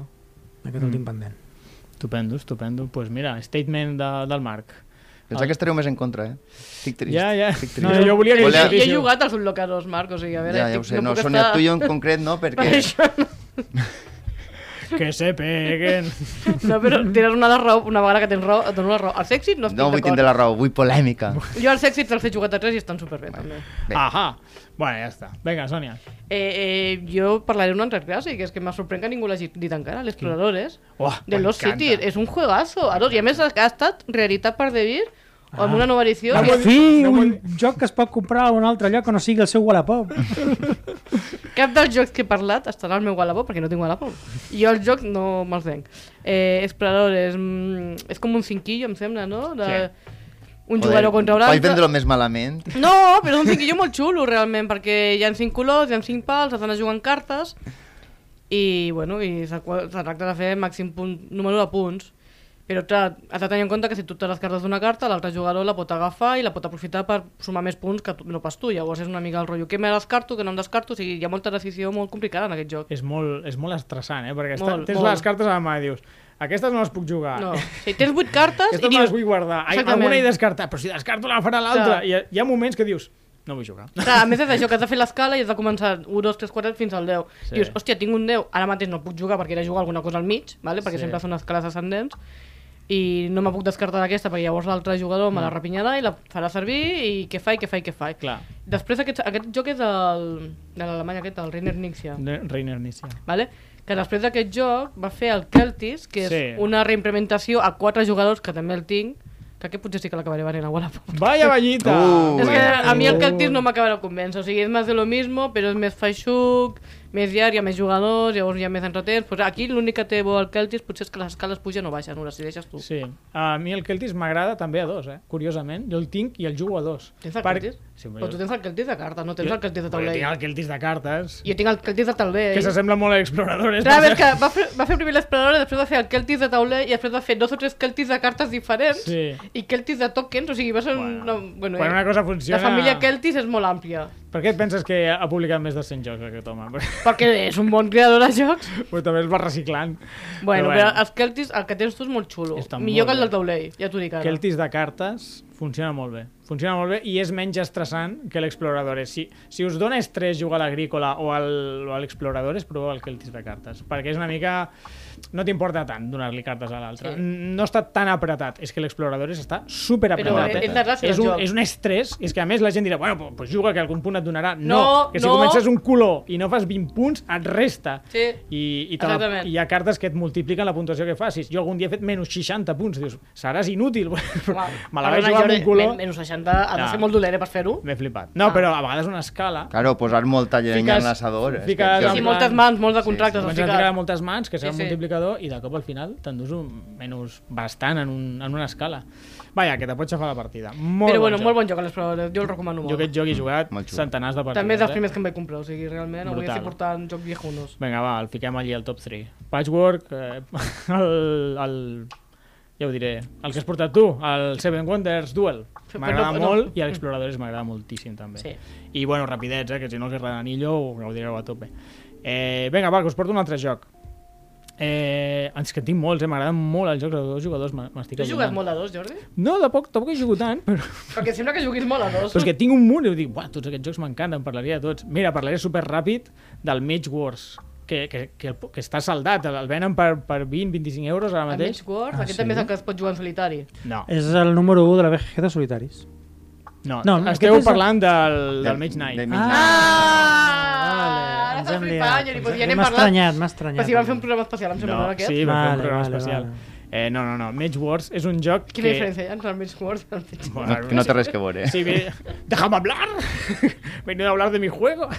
[SPEAKER 2] Aquest
[SPEAKER 3] Mm.
[SPEAKER 2] el tinc pendent.
[SPEAKER 1] Estupendo, estupendo. Doncs pues mira, statement de, del Marc.
[SPEAKER 3] Pensava que estareu més en contra, eh? Estic trist.
[SPEAKER 1] Ja, ja.
[SPEAKER 3] Estic trist.
[SPEAKER 1] No, jo volia que...
[SPEAKER 4] Jo,
[SPEAKER 3] Hola.
[SPEAKER 4] jo he jugat als Unlock a dos, Marc, o sigui, a veure...
[SPEAKER 3] ja, ja ho
[SPEAKER 4] estic-
[SPEAKER 3] sé, no,
[SPEAKER 4] puc
[SPEAKER 3] són
[SPEAKER 4] estar-
[SPEAKER 3] el tuyo en concret, no?
[SPEAKER 4] Per
[SPEAKER 3] Perquè...
[SPEAKER 4] això,
[SPEAKER 1] Que se peguen.
[SPEAKER 4] no, però tens una de raó, una vegada que tens raó, et dono la raó. Els èxits no estic
[SPEAKER 3] No vull tindre
[SPEAKER 4] d'acord.
[SPEAKER 3] la raó, vull polèmica.
[SPEAKER 4] Jo els èxits els he jugat a tres i estan superbé, també.
[SPEAKER 3] Bé.
[SPEAKER 1] Ahà. Bueno, ja està. Vinga, Sònia.
[SPEAKER 4] Eh, eh, jo parlaré d'un altre clàssic, és que m'ha sorprèn que ningú l'hagi dit encara,
[SPEAKER 2] Mm.
[SPEAKER 4] l'Exploradores.
[SPEAKER 1] Uah,
[SPEAKER 4] De Lost
[SPEAKER 1] m'encanta.
[SPEAKER 4] City, és un juegazo. A dos, I a més ha estat realitat per Devir, o amb
[SPEAKER 2] Ah.
[SPEAKER 4] una nova edició.
[SPEAKER 2] Per
[SPEAKER 4] que-
[SPEAKER 2] fi,
[SPEAKER 1] no
[SPEAKER 2] un
[SPEAKER 1] vull-
[SPEAKER 2] joc que es pot comprar a un altre lloc que no sigui el seu Wallapop.
[SPEAKER 4] Cap dels jocs que he parlat estarà al meu Wallapop, perquè no tinc Wallapop. I jo els jocs no me'ls venc. Eh, Explorador és, mm, és com un cinquillo, em sembla, no? De, Un jugador contra un
[SPEAKER 3] Vaig vendre-lo
[SPEAKER 4] altre.
[SPEAKER 3] més malament.
[SPEAKER 4] No, però és un cinquillo molt xulo, realment, perquè hi ha cinc colors, hi ha cinc pals, has d'anar jugant cartes, i, bueno, i se qua- se tracta de fer màxim punt, número de punts. Però, clar, has de tenir en compte que si tu tens les cartes d'una carta, l'altre jugador la pot agafar i la pot aprofitar per sumar més punts que tu, no pas tu. Llavors és una mica el rotllo que me descarto, que no em descarto, o sigui, hi ha molta decisió molt complicada en aquest joc.
[SPEAKER 1] És molt, és molt estressant, eh? Perquè està,
[SPEAKER 4] Molt,
[SPEAKER 1] tens
[SPEAKER 4] molt.
[SPEAKER 1] les cartes a la mà i dius aquestes no les puc jugar.
[SPEAKER 2] Ah.
[SPEAKER 4] No, si tens vuit cartes i
[SPEAKER 1] Aquestes me les
[SPEAKER 4] dius...
[SPEAKER 1] vull guardar. Ai,
[SPEAKER 4] Exactament.
[SPEAKER 1] alguna he descartat, però si descarto la farà l'altra.
[SPEAKER 4] Clar.
[SPEAKER 1] Hi, ha- hi ha moments que dius no vull jugar.
[SPEAKER 4] Clar, a més és això, que has de fer l'escala i has de començar 1, 2, 3, 4 fins al 10.
[SPEAKER 1] Sí.
[SPEAKER 4] Sí. Dius, hòstia, tinc un 10, ara mateix no puc jugar perquè he de jugar alguna cosa al mig, vale? perquè
[SPEAKER 1] Sí.
[SPEAKER 4] sí. sempre són escales ascendents, i no me puc descartar d'aquesta perquè llavors l'altre jugador me la repinyarà i la farà servir i què fa i què fa i què fa.
[SPEAKER 1] Clar.
[SPEAKER 4] Després aquest, aquest joc és el, de l'Alemanya aquest, el Reiner Nixia.
[SPEAKER 1] Reiner Nissia.
[SPEAKER 4] vale? que després d'aquest joc va fer el Celtis, que és
[SPEAKER 1] Sí.
[SPEAKER 4] sí. una reimplementació a quatre jugadors, que també el tinc, que aquest potser sí que l'acabaré venent a Wallapop.
[SPEAKER 1] Vaya ballita!
[SPEAKER 3] Uh.
[SPEAKER 4] Es que a mi el cactus no
[SPEAKER 1] m'ha...
[SPEAKER 4] m'acaba de convèncer, o sigui, és més de lo mismo, però és més feixuc, més llarg, hi ha més jugadors, llavors hi ha més entretens. Pues aquí l'únic que té bo el cactus potser és que les escales pugen o baixen, ho decideixes tu.
[SPEAKER 1] Sí. A mi el Celtis m'agrada també a dos, eh? Curiosament. Jo el tinc i el jugo a dos.
[SPEAKER 4] Tens el
[SPEAKER 1] Per-
[SPEAKER 4] cactus?
[SPEAKER 1] Sí,
[SPEAKER 4] Però tu tens el cactus de cartes, no tens
[SPEAKER 1] jo-
[SPEAKER 4] el cactus de
[SPEAKER 1] Jo tinc
[SPEAKER 4] taulell.
[SPEAKER 1] el Celtis de cartes,
[SPEAKER 4] Jo tinc el cactus de taulell.
[SPEAKER 1] que s'assembla molt a Exploradores.
[SPEAKER 4] Clar, a
[SPEAKER 1] per
[SPEAKER 4] veure,
[SPEAKER 1] cert.
[SPEAKER 4] que va fer, va fer primer l'explorador, després va fer el Celtis de tauler i després va fer dos o tres Celtis de cartes diferents
[SPEAKER 1] Sí.
[SPEAKER 4] i Celtis de tokens, o sigui, va ser
[SPEAKER 1] Bueno,
[SPEAKER 4] una... Bueno,
[SPEAKER 1] quan
[SPEAKER 4] eh,
[SPEAKER 1] una cosa
[SPEAKER 4] La
[SPEAKER 1] funciona-
[SPEAKER 4] família Celtis és molt àmplia,
[SPEAKER 1] Per què et penses que ha publicat més de 100 jocs aquest home? Perquè
[SPEAKER 4] perquè és un bon creador de jocs.
[SPEAKER 1] també es va reciclant.
[SPEAKER 4] Bueno, però, bueno. els Celtics, el que tens tu és molt xulo.
[SPEAKER 1] Està molt
[SPEAKER 4] Millor que el del
[SPEAKER 1] bé.
[SPEAKER 4] taulell, ja t'ho dic ara.
[SPEAKER 1] Celtis de cartes funciona molt bé. Funciona molt bé i és menys estressant que l'Explorador. Eh, Si, si us dona estrès jugar a l'Agrícola o al- o a l'Explorador, és proveu el Celtis de cartes. Perquè és una mica... No t'importa tant donar-li cartes a l'altre.
[SPEAKER 4] Sí.
[SPEAKER 1] Sí. No està tan apretat. És que l'Explorador està super
[SPEAKER 4] Però eh,
[SPEAKER 1] apretat.
[SPEAKER 4] és la gràcia
[SPEAKER 1] és,
[SPEAKER 4] del
[SPEAKER 1] un,
[SPEAKER 4] joc.
[SPEAKER 1] és un estrès. És que a més la gent dirà, bueno, doncs pues juga que algun punt et donarà.
[SPEAKER 4] No,
[SPEAKER 1] que si
[SPEAKER 4] no.
[SPEAKER 1] comences un color i no fas 20 punts, et resta.
[SPEAKER 4] Sí.
[SPEAKER 1] I, i, te la,
[SPEAKER 4] Exactament.
[SPEAKER 1] i hi ha cartes que et multipliquen la puntuació que facis. Jo algun dia he fet menys 60 punts. Dius, seràs inútil. Me la vaig jugar amb un color.
[SPEAKER 4] eh, Menys 60, ha de
[SPEAKER 1] Ja.
[SPEAKER 4] ser molt dolent eh, per fer-ho.
[SPEAKER 1] M'he flipat. No, però a vegades una escala...
[SPEAKER 3] Claro, posar molta llenya
[SPEAKER 1] Fiques-
[SPEAKER 3] en l'assador. és que
[SPEAKER 1] fiques-
[SPEAKER 3] jo-
[SPEAKER 1] en
[SPEAKER 4] Sí,
[SPEAKER 1] plan-
[SPEAKER 4] moltes mans, molts de contractes.
[SPEAKER 1] Comencen
[SPEAKER 4] Sí,
[SPEAKER 1] a tirar moltes mans, que serà
[SPEAKER 4] Sí,
[SPEAKER 1] un
[SPEAKER 4] sí.
[SPEAKER 1] multiplicador, i de cop al final t'endús un menys bastant en, un, en una escala. Vaja, que te pots xafar la partida. Molt
[SPEAKER 4] Però bueno,
[SPEAKER 1] bon
[SPEAKER 4] molt
[SPEAKER 1] joc.
[SPEAKER 4] bon joc a les proves, eh, jo el recomano molt.
[SPEAKER 1] Jo aquest joc he jugat
[SPEAKER 3] Molt xulo.
[SPEAKER 1] centenars de partides.
[SPEAKER 4] També és dels
[SPEAKER 1] eh?
[SPEAKER 4] primers que em vaig comprar, o sigui, realment, avui
[SPEAKER 1] Brutal.
[SPEAKER 4] estic portant jocs viejunos.
[SPEAKER 1] Vinga, va, el fiquem allí al top 3. Patchwork, eh, el, el, ja ho diré, el que has portat tu, el Seven Wonders Duel.
[SPEAKER 4] Però
[SPEAKER 1] M'agrada
[SPEAKER 4] no- no.
[SPEAKER 1] molt i a l'Exploradores m'agrada moltíssim també.
[SPEAKER 4] Sí.
[SPEAKER 1] I bueno, rapidets, eh, que si no els agrada Anillo ho gaudireu a tope. Eh, vinga, va, que us porto un altre joc. Eh, ens que en tinc molts, eh? m'agraden molt els jocs de dos jugadors, m- m'estic
[SPEAKER 4] Tu has jugat molt a dos, Jordi?
[SPEAKER 1] No, de poc, tampoc he jugat tant, però...
[SPEAKER 4] Perquè sembla que juguis molt a dos.
[SPEAKER 1] Però és que tinc un munt i dic, buah, tots aquests jocs m'encanten, parlaria de tots. Mira, parlaré super ràpid del Mage Wars, que, que, que, el- que està saldat, el el venen per, per 20-25 euros ara
[SPEAKER 4] El
[SPEAKER 1] mateix. Eh,
[SPEAKER 4] Mage Wars,
[SPEAKER 2] Ah,
[SPEAKER 4] aquest
[SPEAKER 2] sí?
[SPEAKER 4] també és el que es pot jugar en solitari.
[SPEAKER 1] No,
[SPEAKER 2] És el número 1 de la BGG de solitaris.
[SPEAKER 1] no,
[SPEAKER 2] no,
[SPEAKER 1] no
[SPEAKER 2] aquest
[SPEAKER 1] esteu
[SPEAKER 2] és el-
[SPEAKER 1] parlant del, del Ah. Mage
[SPEAKER 3] del
[SPEAKER 1] Knight.
[SPEAKER 3] Midnight.
[SPEAKER 4] Ah! Ara
[SPEAKER 2] ens
[SPEAKER 4] estàs
[SPEAKER 2] hem
[SPEAKER 4] flipant,
[SPEAKER 2] liat.
[SPEAKER 4] Jordi,
[SPEAKER 2] Ens
[SPEAKER 4] pues ja
[SPEAKER 2] hem-
[SPEAKER 4] n'hem
[SPEAKER 2] M'ha
[SPEAKER 4] parlat.
[SPEAKER 2] estranyat, m'ha estranyat.
[SPEAKER 4] Però si vam fer un programa especial, em sembla,
[SPEAKER 1] No,
[SPEAKER 4] no, aquest.
[SPEAKER 1] sí, va fer
[SPEAKER 2] Vale,
[SPEAKER 1] un programa
[SPEAKER 2] vale,
[SPEAKER 1] especial.
[SPEAKER 2] vale.
[SPEAKER 1] Eh, no, no, no, Mage Wars és un joc
[SPEAKER 4] Quina
[SPEAKER 1] que...
[SPEAKER 4] diferència hi ha entre el Mage Wars i el Mage
[SPEAKER 1] Bueno,
[SPEAKER 3] No, que no té res que veure.
[SPEAKER 1] Sí, ve- déjame hablar. Venido a hablar de mi juego.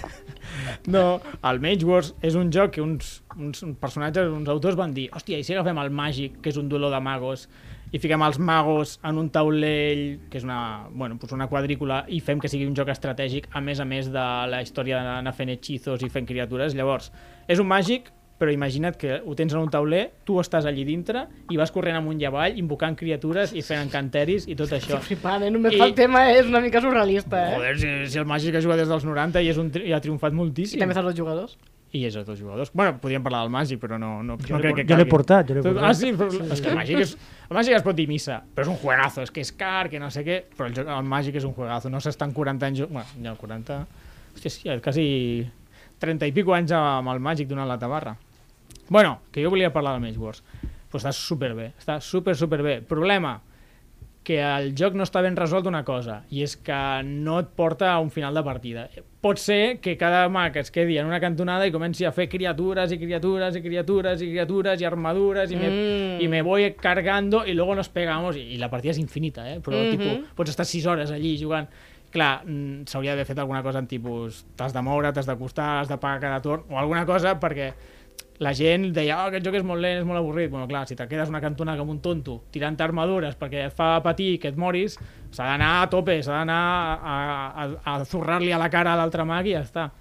[SPEAKER 1] No, el Mage Wars és un joc que uns, uns personatges, uns autors van dir hòstia, i si agafem el màgic, que és un duelo de magos, i fiquem els magos en un taulell, que és una, bueno, pues una quadrícula, i fem que sigui un joc estratègic, a més a més de la història d'anar fent hechizos i fent criatures. Llavors, és un màgic, però imagina't que ho tens en un tauler, tu estàs allí dintre i vas corrent amunt i avall, invocant criatures i fent encanteris i tot això.
[SPEAKER 4] Flipant, eh? Només
[SPEAKER 1] I-
[SPEAKER 4] I... el tema és una mica surrealista, eh?
[SPEAKER 1] Joder, si, si el màgic ha jugat des dels 90 i, és un, tri- i ha triomfat
[SPEAKER 4] I
[SPEAKER 1] moltíssim.
[SPEAKER 4] també saps els jugadors.
[SPEAKER 1] I és a dos jugadors. Bueno, podríem parlar del màgic, però no, no, no
[SPEAKER 2] Jo
[SPEAKER 1] crec
[SPEAKER 2] l'he por-
[SPEAKER 1] que
[SPEAKER 2] jo l'he
[SPEAKER 1] calgui.
[SPEAKER 2] portat, jo l'he
[SPEAKER 1] Tu-
[SPEAKER 2] portat.
[SPEAKER 1] Ah, sí, però és que el màgic, és, el màgic es pot dir missa, però és un juegazo, és que és car, que no sé què, però el, joc, el màgic és un juegazo, no s'estan 40 anys... jo- Bueno, ja 40... Hòstia, sí, quasi 30 i pico anys amb el màgic donant la tabarra. Bueno, que jo volia parlar del Mage Wars. Pues està superbé, està super, superbé. Problema, que el joc no està ben resolt una cosa, i és que no et porta a un final de partida. Pot ser que cada mag es quedi en una cantonada i comenci a fer criatures i criatures i criatures i criatures i armadures i, me,
[SPEAKER 4] Mm.
[SPEAKER 1] i me voy cargando i luego nos pegamos i, i la partida és infinita, eh? però
[SPEAKER 4] Mhm.
[SPEAKER 1] tipus, pots estar 6 hores allí jugant clar, mm, s'hauria d'haver fet alguna cosa en tipus t'has de moure, t'has d'acostar, has de pagar cada torn o alguna cosa perquè la gent deia, oh, aquest joc és molt lent, és molt avorrit. Bueno, clar, si te quedes una cantonada com un tonto tirant armadures perquè et fa patir que et moris, s'ha d'anar a tope, s'ha d'anar a, a, a zurrar-li a la cara a l'altre mag i ja està.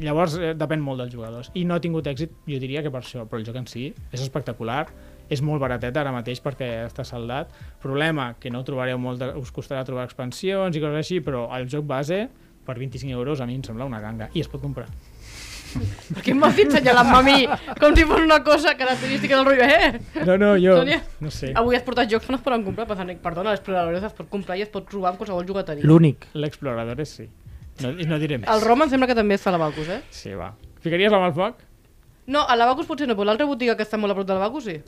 [SPEAKER 1] Llavors, eh, depèn molt dels jugadors. I no ha tingut èxit, jo diria que per això, però el joc en si és espectacular, és molt baratet ara mateix perquè està saldat. Problema, que no trobareu molt, de, us costarà trobar expansions i coses així, però el joc base, per 25 euros, a mi em sembla una ganga. I es pot comprar.
[SPEAKER 4] Per què m'has dit senyalant-me a mi? Com si fos una cosa característica del rotllo, eh?
[SPEAKER 1] No, no, jo...
[SPEAKER 4] Sònia?
[SPEAKER 1] No sé.
[SPEAKER 4] Avui has portat jocs que no es poden comprar, pensant, perdona, l'explorador es pot comprar i es pot trobar amb qualsevol jugateria.
[SPEAKER 2] L'únic.
[SPEAKER 1] L'explorador és sí. No, no diré més.
[SPEAKER 4] El Roma em sembla que també és a l'Abacus, eh?
[SPEAKER 1] Sí, va. Ficaries la mà al foc?
[SPEAKER 4] No, a l'Abacus potser no, però l'altra botiga que està molt a prop de l'Abacus, sí.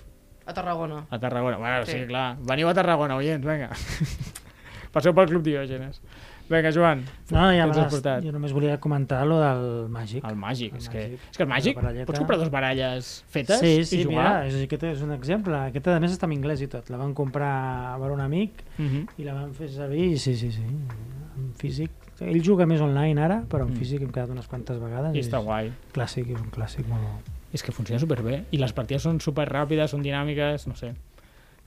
[SPEAKER 4] A Tarragona.
[SPEAKER 1] A Tarragona. Bueno, sí.
[SPEAKER 4] Sí.
[SPEAKER 1] sí, clar. Veniu a Tarragona, oients, vinga. Passeu pel Club Diògenes. Vinga, Joan.
[SPEAKER 2] No,
[SPEAKER 1] què ens
[SPEAKER 2] ja
[SPEAKER 1] has
[SPEAKER 2] m'has-
[SPEAKER 1] portat?
[SPEAKER 2] jo només volia comentar lo del màgic.
[SPEAKER 1] El màgic,
[SPEAKER 2] El
[SPEAKER 1] és que,
[SPEAKER 2] màgic.
[SPEAKER 1] és que el màgic,
[SPEAKER 2] La baralleta.
[SPEAKER 1] pots comprar dos baralles fetes
[SPEAKER 2] Sí, sí,
[SPEAKER 1] i
[SPEAKER 2] mira,
[SPEAKER 1] jugar.
[SPEAKER 2] és, aquest és un exemple. Aquest, a més, està en anglès i tot. La van comprar per un amic
[SPEAKER 1] Mira. Mm
[SPEAKER 2] i la van fer servir i sí, sí, sí. En físic. Ell juga més online ara, però en
[SPEAKER 1] Mm.
[SPEAKER 2] físic hem quedat unes quantes vegades.
[SPEAKER 1] I està guai.
[SPEAKER 2] És clàssic, és un clàssic molt bo.
[SPEAKER 1] És que funciona superbé. I les partides són super ràpides, són dinàmiques, no sé.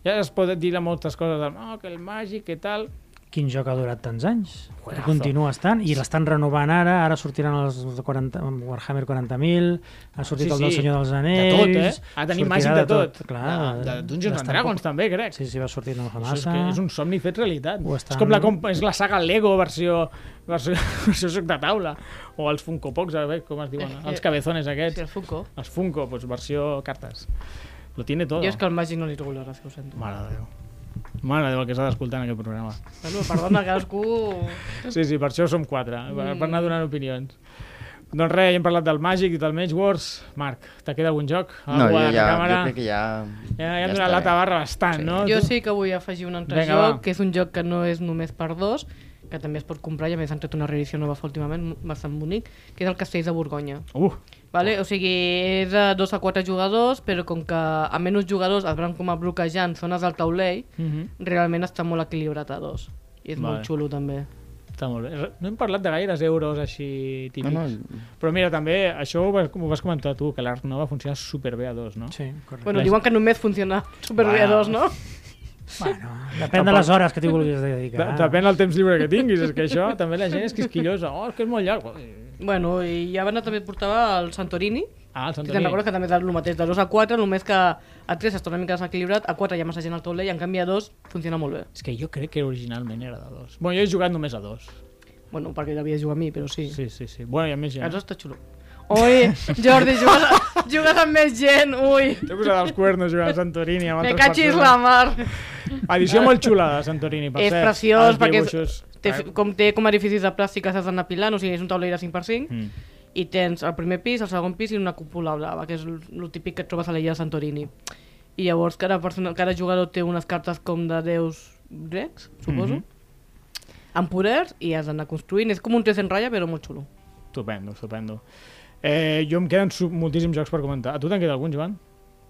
[SPEAKER 1] Ja es pot dir moltes coses, del, oh, que el màgic, que tal...
[SPEAKER 2] Quin joc ha durat tants anys?
[SPEAKER 1] Juegazo.
[SPEAKER 2] I continua estant, i l'estan renovant ara, ara sortiran els de 40, Warhammer 40.000, ha sortit
[SPEAKER 1] Sí,
[SPEAKER 2] sí, el del
[SPEAKER 1] sí.
[SPEAKER 2] Senyor dels
[SPEAKER 1] De
[SPEAKER 2] Anells...
[SPEAKER 1] tot, eh? Ha de tenir
[SPEAKER 2] sortirà
[SPEAKER 1] màgic de tot.
[SPEAKER 2] Clar,
[SPEAKER 1] de, de Dungeons and
[SPEAKER 2] l'estan
[SPEAKER 1] Dragons,
[SPEAKER 2] pop-
[SPEAKER 1] també, crec.
[SPEAKER 2] Sí, sí, va sortir no fa
[SPEAKER 1] Això és,
[SPEAKER 2] massa.
[SPEAKER 1] que és un somni fet realitat.
[SPEAKER 2] Ho estan-
[SPEAKER 1] És com la, comp és la saga Lego versió, versió, versió joc de taula. O els Funko Pops, a veure com es diuen,
[SPEAKER 2] Eh,
[SPEAKER 1] els cabezones
[SPEAKER 4] Sí,
[SPEAKER 1] aquests.
[SPEAKER 4] el Funko.
[SPEAKER 1] Els Funko, doncs versió cartes. Lo tiene todo.
[SPEAKER 4] Jo és que el màgic no li trobo la gràcia, ho sento.
[SPEAKER 1] Mare de Déu. Mare de Déu, el que s'ha d'escoltar en aquest programa.
[SPEAKER 4] Bueno, perdona, cadascú...
[SPEAKER 1] Sí, sí, per això som quatre, per, per anar donant opinions. Doncs res, ja hem parlat del Magic i del Mage Wars. Marc, te queda algun joc?
[SPEAKER 3] No,
[SPEAKER 1] Algú
[SPEAKER 3] jo
[SPEAKER 1] a la
[SPEAKER 3] ja, jo
[SPEAKER 1] càmera?
[SPEAKER 3] crec que ja...
[SPEAKER 1] Ja, ja hem
[SPEAKER 3] està
[SPEAKER 1] donat la
[SPEAKER 3] bé.
[SPEAKER 1] tabarra bastant,
[SPEAKER 3] Sí.
[SPEAKER 1] no?
[SPEAKER 4] Jo
[SPEAKER 1] Ah, Tu-
[SPEAKER 4] sí que vull afegir un altre
[SPEAKER 1] Vinga,
[SPEAKER 4] joc,
[SPEAKER 1] va.
[SPEAKER 4] que és un joc que no és només per dos, que també es pot comprar i a més han tret una reedició nova fa últimament, bastant bonic, que és el Castell de Borgonya.
[SPEAKER 1] Uh,
[SPEAKER 4] Vale? O sigui, és de 2 a 4 jugadors, però com que a menys jugadors es van com a bloquejant zones del taulell,
[SPEAKER 1] mm -hmm.
[SPEAKER 4] realment està molt equilibrat a dos. I és
[SPEAKER 1] Vale.
[SPEAKER 4] molt xulo, també.
[SPEAKER 1] Està molt bé. No hem parlat de gaires euros així típics.
[SPEAKER 3] No,
[SPEAKER 1] No, no.
[SPEAKER 3] no,
[SPEAKER 1] Però mira, també, això ho vas, ho vas comentar tu, que l'Art Nova funciona superbé a dos, no?
[SPEAKER 2] Sí, correcte.
[SPEAKER 4] Bueno,
[SPEAKER 1] Res.
[SPEAKER 4] diuen que només funciona superbé a
[SPEAKER 1] Bueno.
[SPEAKER 4] dos, no?
[SPEAKER 2] Bueno, depèn de les hores que t'hi vulguis
[SPEAKER 1] De,
[SPEAKER 2] dedicar.
[SPEAKER 1] depèn del temps lliure que tinguis, és que això també la gent és quisquillosa. Oh, és que és molt llarg.
[SPEAKER 4] Bueno, i ja abans també portava el Santorini,
[SPEAKER 1] Ah, el
[SPEAKER 4] Si
[SPEAKER 1] Sant
[SPEAKER 4] te'n recordes que també és el mateix, de 2 a 4, només que a 3 està una mica desequilibrat, a 4 hi ha massa gent al taulell, i en canvi a 2 funciona molt bé.
[SPEAKER 1] És que jo crec que originalment era de dos. Bueno, jo he jugat només a dos.
[SPEAKER 4] Bueno, perquè l'havia de jugar a mi, però sí. sí.
[SPEAKER 1] Sí, sí, sí. Bueno, hi ha més gent.
[SPEAKER 4] A 2 està xulo. Oi, Jordi, jugues, a- jugues amb més gent, ui.
[SPEAKER 1] T'he posat els cuernos jugant a Santorini amb
[SPEAKER 4] Me
[SPEAKER 1] altres
[SPEAKER 4] catxis la
[SPEAKER 1] persones.
[SPEAKER 4] mar.
[SPEAKER 1] Edició molt xula de Santorini, per
[SPEAKER 4] És
[SPEAKER 1] cert.
[SPEAKER 4] preciós,
[SPEAKER 1] Els eh?
[SPEAKER 4] perquè és-
[SPEAKER 1] dibuixos-
[SPEAKER 4] Té, fi- com té com edificis de plàstic que s'has d'anar pilant, o sigui, és un taulell de 5x5,
[SPEAKER 1] Mm.
[SPEAKER 4] i tens el primer pis, el segon pis i una cúpula blava, que és el típic que et trobes a l'illa de Santorini. I llavors cada, persona, cada jugador té unes cartes com de déus grecs, suposo, mm
[SPEAKER 1] Mhm.
[SPEAKER 4] -hmm. amb poders i has d'anar construint. És com un 3 en ratlla, però molt xulo.
[SPEAKER 1] Estupendo, estupendo. Eh, jo em queden su- moltíssims jocs per comentar. A tu te'n queda algun, Joan?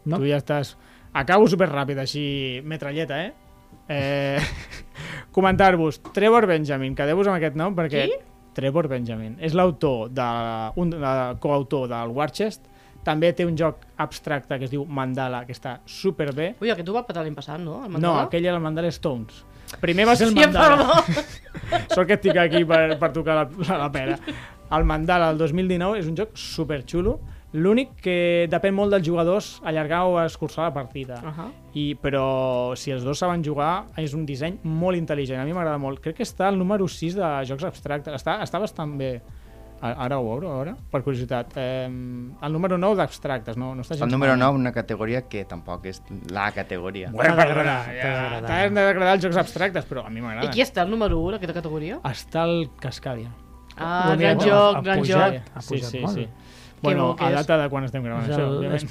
[SPEAKER 2] No.
[SPEAKER 1] Tu ja estàs... Acabo superràpid, així, metralleta, eh? eh... Comentar-vos, Trevor Benjamin, quedeu-vos amb aquest nom perquè...
[SPEAKER 4] Qui?
[SPEAKER 1] Trevor Benjamin. És l'autor, de, un de, coautor del Warchest, També té un joc abstracte que es diu Mandala, que està superbé.
[SPEAKER 4] Ui, aquest ho va patar l'any passat, no? El
[SPEAKER 1] No,
[SPEAKER 4] Mandala?
[SPEAKER 1] aquell era el Mandala Stones. Primer va ser el
[SPEAKER 4] Sí,
[SPEAKER 1] Mandala.
[SPEAKER 4] perdó.
[SPEAKER 1] Sort que estic aquí per, per tocar la, la, la pera. El Mandala del 2019 és un joc superxulo, l'únic que depèn molt dels jugadors allargar o escurçar la partida.
[SPEAKER 4] Ahà.
[SPEAKER 1] I, però si els dos saben jugar, és un disseny molt intel·ligent. A mi m'agrada molt. Crec que està al número 6 de jocs abstractes. Està, està bastant bé. A- Ara ho obro, ara, per curiositat. Eh, el número 9 d'abstractes, no, no està gens
[SPEAKER 3] El número
[SPEAKER 1] malament.
[SPEAKER 3] 9, una categoria que tampoc és la categoria.
[SPEAKER 1] Bueno,
[SPEAKER 2] T'ha
[SPEAKER 1] perdona,
[SPEAKER 2] d'agradar, t'ha
[SPEAKER 1] ja,
[SPEAKER 2] d'agradar.
[SPEAKER 1] t'han d'agradar els jocs abstractes, però a mi
[SPEAKER 4] I
[SPEAKER 1] m'agrada.
[SPEAKER 4] qui està el número 1 d'aquesta categoria?
[SPEAKER 1] Està el Cascadia.
[SPEAKER 4] Ah,
[SPEAKER 1] Bon dia,
[SPEAKER 4] gran
[SPEAKER 1] bon dia.
[SPEAKER 4] joc,
[SPEAKER 2] Ha
[SPEAKER 4] gran
[SPEAKER 2] pujat.
[SPEAKER 4] joc.
[SPEAKER 2] ha
[SPEAKER 1] Sí,
[SPEAKER 2] pujat
[SPEAKER 1] sí,
[SPEAKER 2] molt.
[SPEAKER 1] sí.
[SPEAKER 4] bo
[SPEAKER 1] Bueno,
[SPEAKER 4] que
[SPEAKER 1] a
[SPEAKER 4] és.
[SPEAKER 1] data de quan estem gravant
[SPEAKER 2] És
[SPEAKER 1] això,
[SPEAKER 2] el-
[SPEAKER 1] òbviament.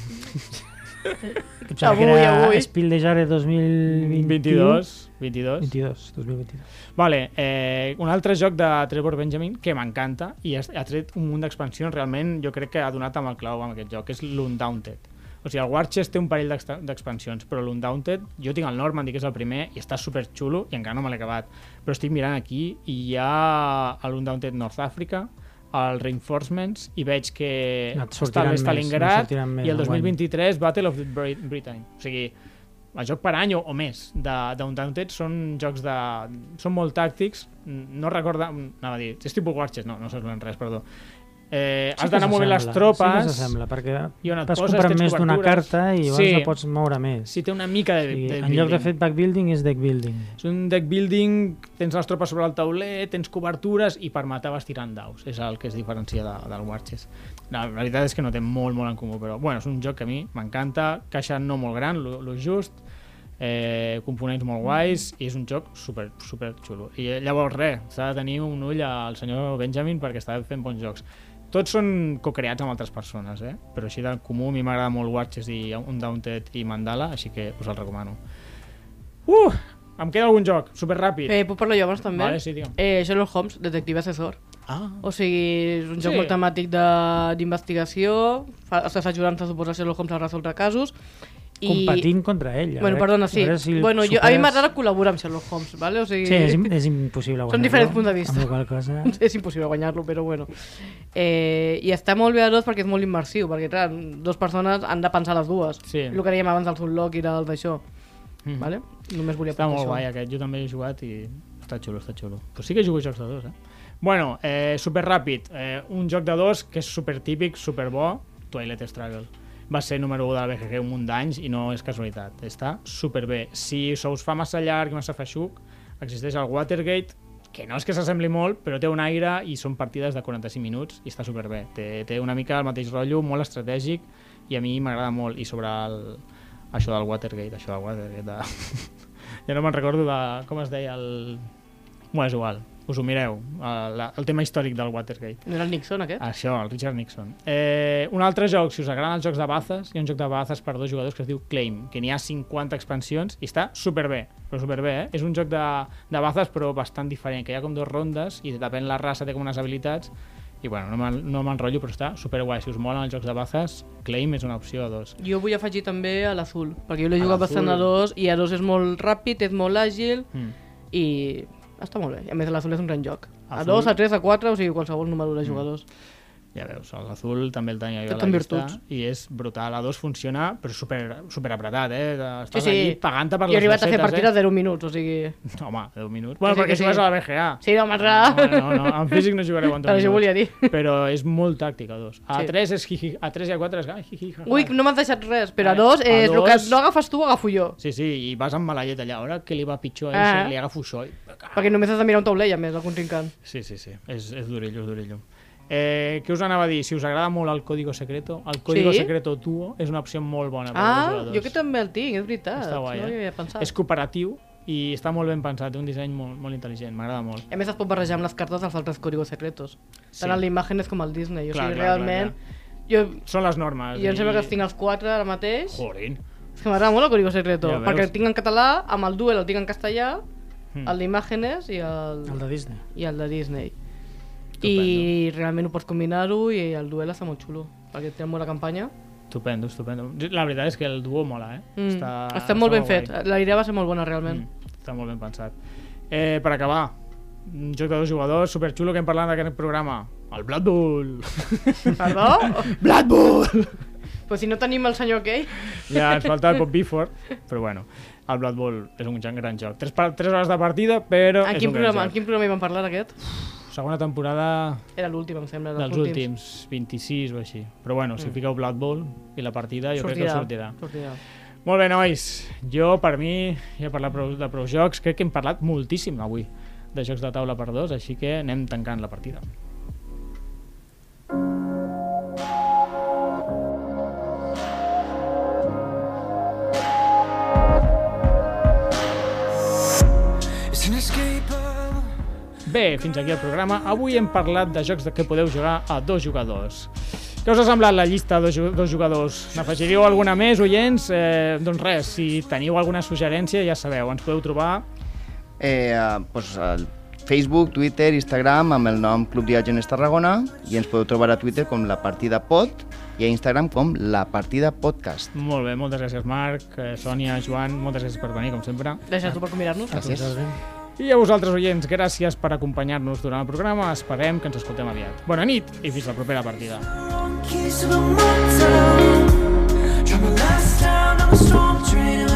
[SPEAKER 2] Que em sembla que
[SPEAKER 4] Avui,
[SPEAKER 2] era
[SPEAKER 4] avui.
[SPEAKER 2] Spiel de Jare 2021.
[SPEAKER 1] 22, 22.
[SPEAKER 2] 22, 2022.
[SPEAKER 1] Vale, eh, un altre joc de Trevor Benjamin que m'encanta i ha ha tret un munt d'expansions, realment jo crec que ha donat amb el clau amb aquest joc, que és l'Undaunted. O sigui, el War Chest té un parell d'exta- d'expansions, però l'Undaunted, jo tinc el Normandy, que és el primer, i està super xulo i encara no me l'he acabat. Però estic mirant aquí i hi ha l'Undaunted North Africa, el Reinforcements, i veig que
[SPEAKER 2] No et
[SPEAKER 1] està
[SPEAKER 2] sortiran
[SPEAKER 1] el
[SPEAKER 2] més, no
[SPEAKER 1] Stalingrad
[SPEAKER 2] sortiran més,
[SPEAKER 1] i el
[SPEAKER 2] enguany.
[SPEAKER 1] 2023 Battle of Bri- Britain. O sigui, el joc per any o, o més de- d'Undaunted són jocs de... són molt tàctics, mm, no recorda... mm, anava a dir, és tipus Warches, no, no s'assemblen res, perdó. Eh, has d'anar movent les
[SPEAKER 2] Sí
[SPEAKER 1] tropes,
[SPEAKER 2] que s'assembla, perquè
[SPEAKER 1] i on et
[SPEAKER 2] vas
[SPEAKER 1] poses
[SPEAKER 2] comprant
[SPEAKER 1] tens
[SPEAKER 2] més d'una
[SPEAKER 1] cobertures.
[SPEAKER 2] carta i llavors
[SPEAKER 1] Sí.
[SPEAKER 2] la pots moure més.
[SPEAKER 1] si té una mica de,
[SPEAKER 2] I
[SPEAKER 1] de
[SPEAKER 2] en lloc de
[SPEAKER 1] building.
[SPEAKER 2] fer back building és deck building.
[SPEAKER 1] És un deck building, tens les tropes sobre el tauler, tens cobertures i per matar vas tirant daus. És el que es diferencia de, del Warches. La, la veritat és que no té molt, molt en comú, però bueno, és un joc que a mi m'encanta, caixa no molt gran, lo, lo just, eh, components molt guais i és un joc super, super xulo. I eh, llavors res, s'ha de tenir un ull al senyor Benjamin perquè està fent bons jocs. Tots són co-creats amb altres persones, eh? però així del comú a mi m'agrada molt Warches i Undaunted i Mandala, així que us el recomano. Uh! Em queda algun joc, super ràpid.
[SPEAKER 4] Eh, puc parlar jo abans també?
[SPEAKER 1] Vale, sí, digue'm.
[SPEAKER 4] Eh, Sherlock Holmes, detective assessor.
[SPEAKER 1] Ah.
[SPEAKER 4] O sigui, és un joc
[SPEAKER 1] Sí.
[SPEAKER 4] molt temàtic de- d'investigació, fa- estàs ajudant a suposar Sherlock Holmes a resoldre casos. I...
[SPEAKER 2] Competint contra ell. a
[SPEAKER 4] Bueno,
[SPEAKER 2] veure-
[SPEAKER 4] perdona,
[SPEAKER 2] eh? a
[SPEAKER 4] sí.
[SPEAKER 2] veure si
[SPEAKER 4] bueno, jo, a mi
[SPEAKER 2] superes-
[SPEAKER 4] m'agrada col·laborar amb Sherlock Holmes, vale? o sigui,
[SPEAKER 2] Sí, és, im- és impossible guanyar-lo.
[SPEAKER 4] diferents punts de vista.
[SPEAKER 2] Amb la qual cosa...
[SPEAKER 4] és impossible guanyar-lo, però bueno. Eh, I està molt bé a dos perquè és molt immersiu, perquè clar, dues persones han de pensar les dues.
[SPEAKER 1] Sí.
[SPEAKER 4] El que dèiem abans del Sunlock i del d'això.
[SPEAKER 2] Mhm.
[SPEAKER 1] Mm.
[SPEAKER 4] Vale? Només volia
[SPEAKER 1] Està
[SPEAKER 4] apuntar
[SPEAKER 1] molt
[SPEAKER 4] això.
[SPEAKER 1] guai aquest, jo també he jugat i està xulo, està xulo. Però sí que jugo jocs de dos, eh? Bueno, eh, super ràpid, eh, un joc de dos que és super típic, super bo, Twilight Struggle. Va ser número 1 de la BGG un munt d'anys i no és casualitat, està super bé. Si se us fa massa llarg, massa feixuc, existeix el Watergate, que no és que s'assembli molt, però té un aire i són partides de 45 minuts i està superbé. Té, té una mica el mateix rotllo, molt estratègic i a mi m'agrada molt. I sobre el, això del Watergate, això del Watergate... De... ja no me'n recordo de com es deia el... Bueno, és igual, us ho mireu, el, el tema històric del Watergate.
[SPEAKER 4] No era el Nixon, aquest?
[SPEAKER 1] Això, el Richard Nixon. Eh, un altre joc, si us agraden els jocs de bazes, hi ha un joc de bazes per dos jugadors que es diu Claim, que n'hi ha 50 expansions i està superbé, però superbé, eh? És un joc de, de bazes però bastant diferent, que hi ha com dues rondes i depèn la raça, té com unes habilitats i bueno, no me'n- no m'enrotllo, però està superguai. Si us molen els jocs de bazes, Claim és una opció a dos.
[SPEAKER 4] Jo vull afegir també a l'azul, perquè jo l'he
[SPEAKER 1] A
[SPEAKER 4] jugat
[SPEAKER 1] l'Azul.
[SPEAKER 4] bastant a dos, i a dos és molt ràpid, és molt àgil,
[SPEAKER 1] Mm.
[SPEAKER 4] i està molt bé. A més, l'azul és un gran joc. A
[SPEAKER 1] Azul. Mm.
[SPEAKER 4] dos, a tres, a quatre, o sigui, qualsevol número de jugadors.
[SPEAKER 1] Ja veus, l'azul també el tenia jo
[SPEAKER 4] Tot
[SPEAKER 1] a la
[SPEAKER 4] amb
[SPEAKER 1] llista
[SPEAKER 4] virtuts.
[SPEAKER 1] i és brutal. A dos funciona, però super, super apretat, eh? Estàs
[SPEAKER 4] Sí, sí.
[SPEAKER 1] allí pagant-te per
[SPEAKER 4] I he
[SPEAKER 1] les
[SPEAKER 4] arribat a fer
[SPEAKER 1] rosetes,
[SPEAKER 4] partides de 10 minuts, o sigui...
[SPEAKER 1] Eh? Home, 10 minuts. Bueno,
[SPEAKER 4] sí,
[SPEAKER 1] perquè
[SPEAKER 4] que sí.
[SPEAKER 1] jugues a la BGA.
[SPEAKER 4] Sí, no, m'agrada.
[SPEAKER 1] No, no, no, en físic no jugareu en 10
[SPEAKER 4] Però
[SPEAKER 1] minuts.
[SPEAKER 4] jo volia dir.
[SPEAKER 1] Però és molt tàctic a dos. A
[SPEAKER 4] Sí.
[SPEAKER 1] 3 és hi, hi, a 3 i a 4 és hi, hi, hi, hi,
[SPEAKER 4] Ui, no m'has deixat res, però
[SPEAKER 1] A
[SPEAKER 4] a dos, eh, és el que
[SPEAKER 1] dos-
[SPEAKER 4] no agafes tu, ho agafo jo.
[SPEAKER 1] Sí, sí, i vas amb mala llet allà. Ara que li va pitjor a
[SPEAKER 4] Ah.
[SPEAKER 1] ell, li agafo això. I...
[SPEAKER 4] Perquè només has de mirar un tauler, i a més, el contrincant.
[SPEAKER 1] Sí, sí, sí, és, és durillo, és durillo. Eh, què us anava a dir? Si us agrada molt el Código Secreto, el Código
[SPEAKER 4] Sí?
[SPEAKER 1] Secreto Duo és una opció molt bona per dos
[SPEAKER 4] Ah,
[SPEAKER 1] jugadors.
[SPEAKER 4] jo que també el tinc, és veritat.
[SPEAKER 1] Està guai,
[SPEAKER 4] no hi
[SPEAKER 1] eh?
[SPEAKER 4] havia pensat.
[SPEAKER 1] És cooperatiu i està molt ben pensat, té un disseny molt, molt intel·ligent, m'agrada molt.
[SPEAKER 4] A més, es pot barrejar amb les cartes dels altres códigos secretos.
[SPEAKER 1] Sí.
[SPEAKER 4] Tant a la imatge com al Disney. O
[SPEAKER 1] Clar,
[SPEAKER 4] sigui,
[SPEAKER 1] clar, clar,
[SPEAKER 4] realment... Jo,
[SPEAKER 1] Són les normes.
[SPEAKER 4] jo em sembla que els tinc els quatre ara mateix.
[SPEAKER 1] Jorin.
[SPEAKER 4] És que m'agrada molt el Código Secreto,
[SPEAKER 1] Ja veus.
[SPEAKER 4] perquè el tinc en català, amb el Duel el tinc en castellà,
[SPEAKER 1] Mm.
[SPEAKER 4] el d'Imàgenes i el,
[SPEAKER 2] El de Disney.
[SPEAKER 4] i el de Disney. I
[SPEAKER 1] Estupendo.
[SPEAKER 4] realment ho pots combinar-ho i el Duel està molt xulo, perquè té molt la campanya.
[SPEAKER 1] Estupendo, estupendo. La veritat és que el duo mola, eh?
[SPEAKER 4] Mm. Està, està molt ben
[SPEAKER 1] guai.
[SPEAKER 4] fet, la idea va ser molt bona realment.
[SPEAKER 1] Mm, està molt ben pensat. Eh, per acabar, un joc de dos jugadors, superxulo Hmm. que hem parlat en aquest programa. El Blood Bowl.
[SPEAKER 4] Perdó?
[SPEAKER 1] Blood Bowl!
[SPEAKER 4] Pues si no tenim el senyor aquell...
[SPEAKER 1] Ja ens falta el Bob Bifford, però bueno, el Blood Bowl és un gran, gran joc. Tres, pa- tres hores de partida, però
[SPEAKER 4] En
[SPEAKER 1] és
[SPEAKER 4] Ah, quin,
[SPEAKER 1] un gran
[SPEAKER 4] programa, en
[SPEAKER 1] joc.
[SPEAKER 4] quin programa hi vam parlar d'aquest?
[SPEAKER 1] Segona temporada
[SPEAKER 4] Era l'últim, em sembla.
[SPEAKER 1] dels últims, 26 o així. Però bueno, si fiqueu Blood Bowl i la partida, jo crec que us sortirà.
[SPEAKER 4] sortirà.
[SPEAKER 1] Molt bé, nois. Jo, per mi, ja he parlat prou, de prou jocs. Crec que hem parlat moltíssim avui de jocs de taula per dos, així que anem tancant la partida.
[SPEAKER 5] It's inescapable.
[SPEAKER 1] Bé, fins aquí el programa. Avui hem parlat de jocs de que podeu jugar a dos jugadors. Què us ha semblat la llista de dos ju- dos jugadors? N'afegiríeu alguna més, oients? Eh, doncs res, si teniu alguna suggerència, ja sabeu, ens podeu trobar...
[SPEAKER 3] Eh, eh, doncs, al Facebook, Twitter, Instagram amb el nom Club Diògenes Tarragona i ens podeu trobar a Twitter com La Partida Pod i a Instagram com La Partida Podcast.
[SPEAKER 1] Molt bé, moltes gràcies, Marc, eh, Sònia, Joan, moltes gràcies per venir, com sempre.
[SPEAKER 4] Deixa'ns-ho per convidar-nos.
[SPEAKER 3] Gràcies.
[SPEAKER 1] I a vosaltres, oients, gràcies per acompanyar-nos durant el programa. Esperem que ens escoltem aviat. Bona nit i fins la propera partida.
[SPEAKER 5] Kiss of a motel. Drop my last down on a storm train.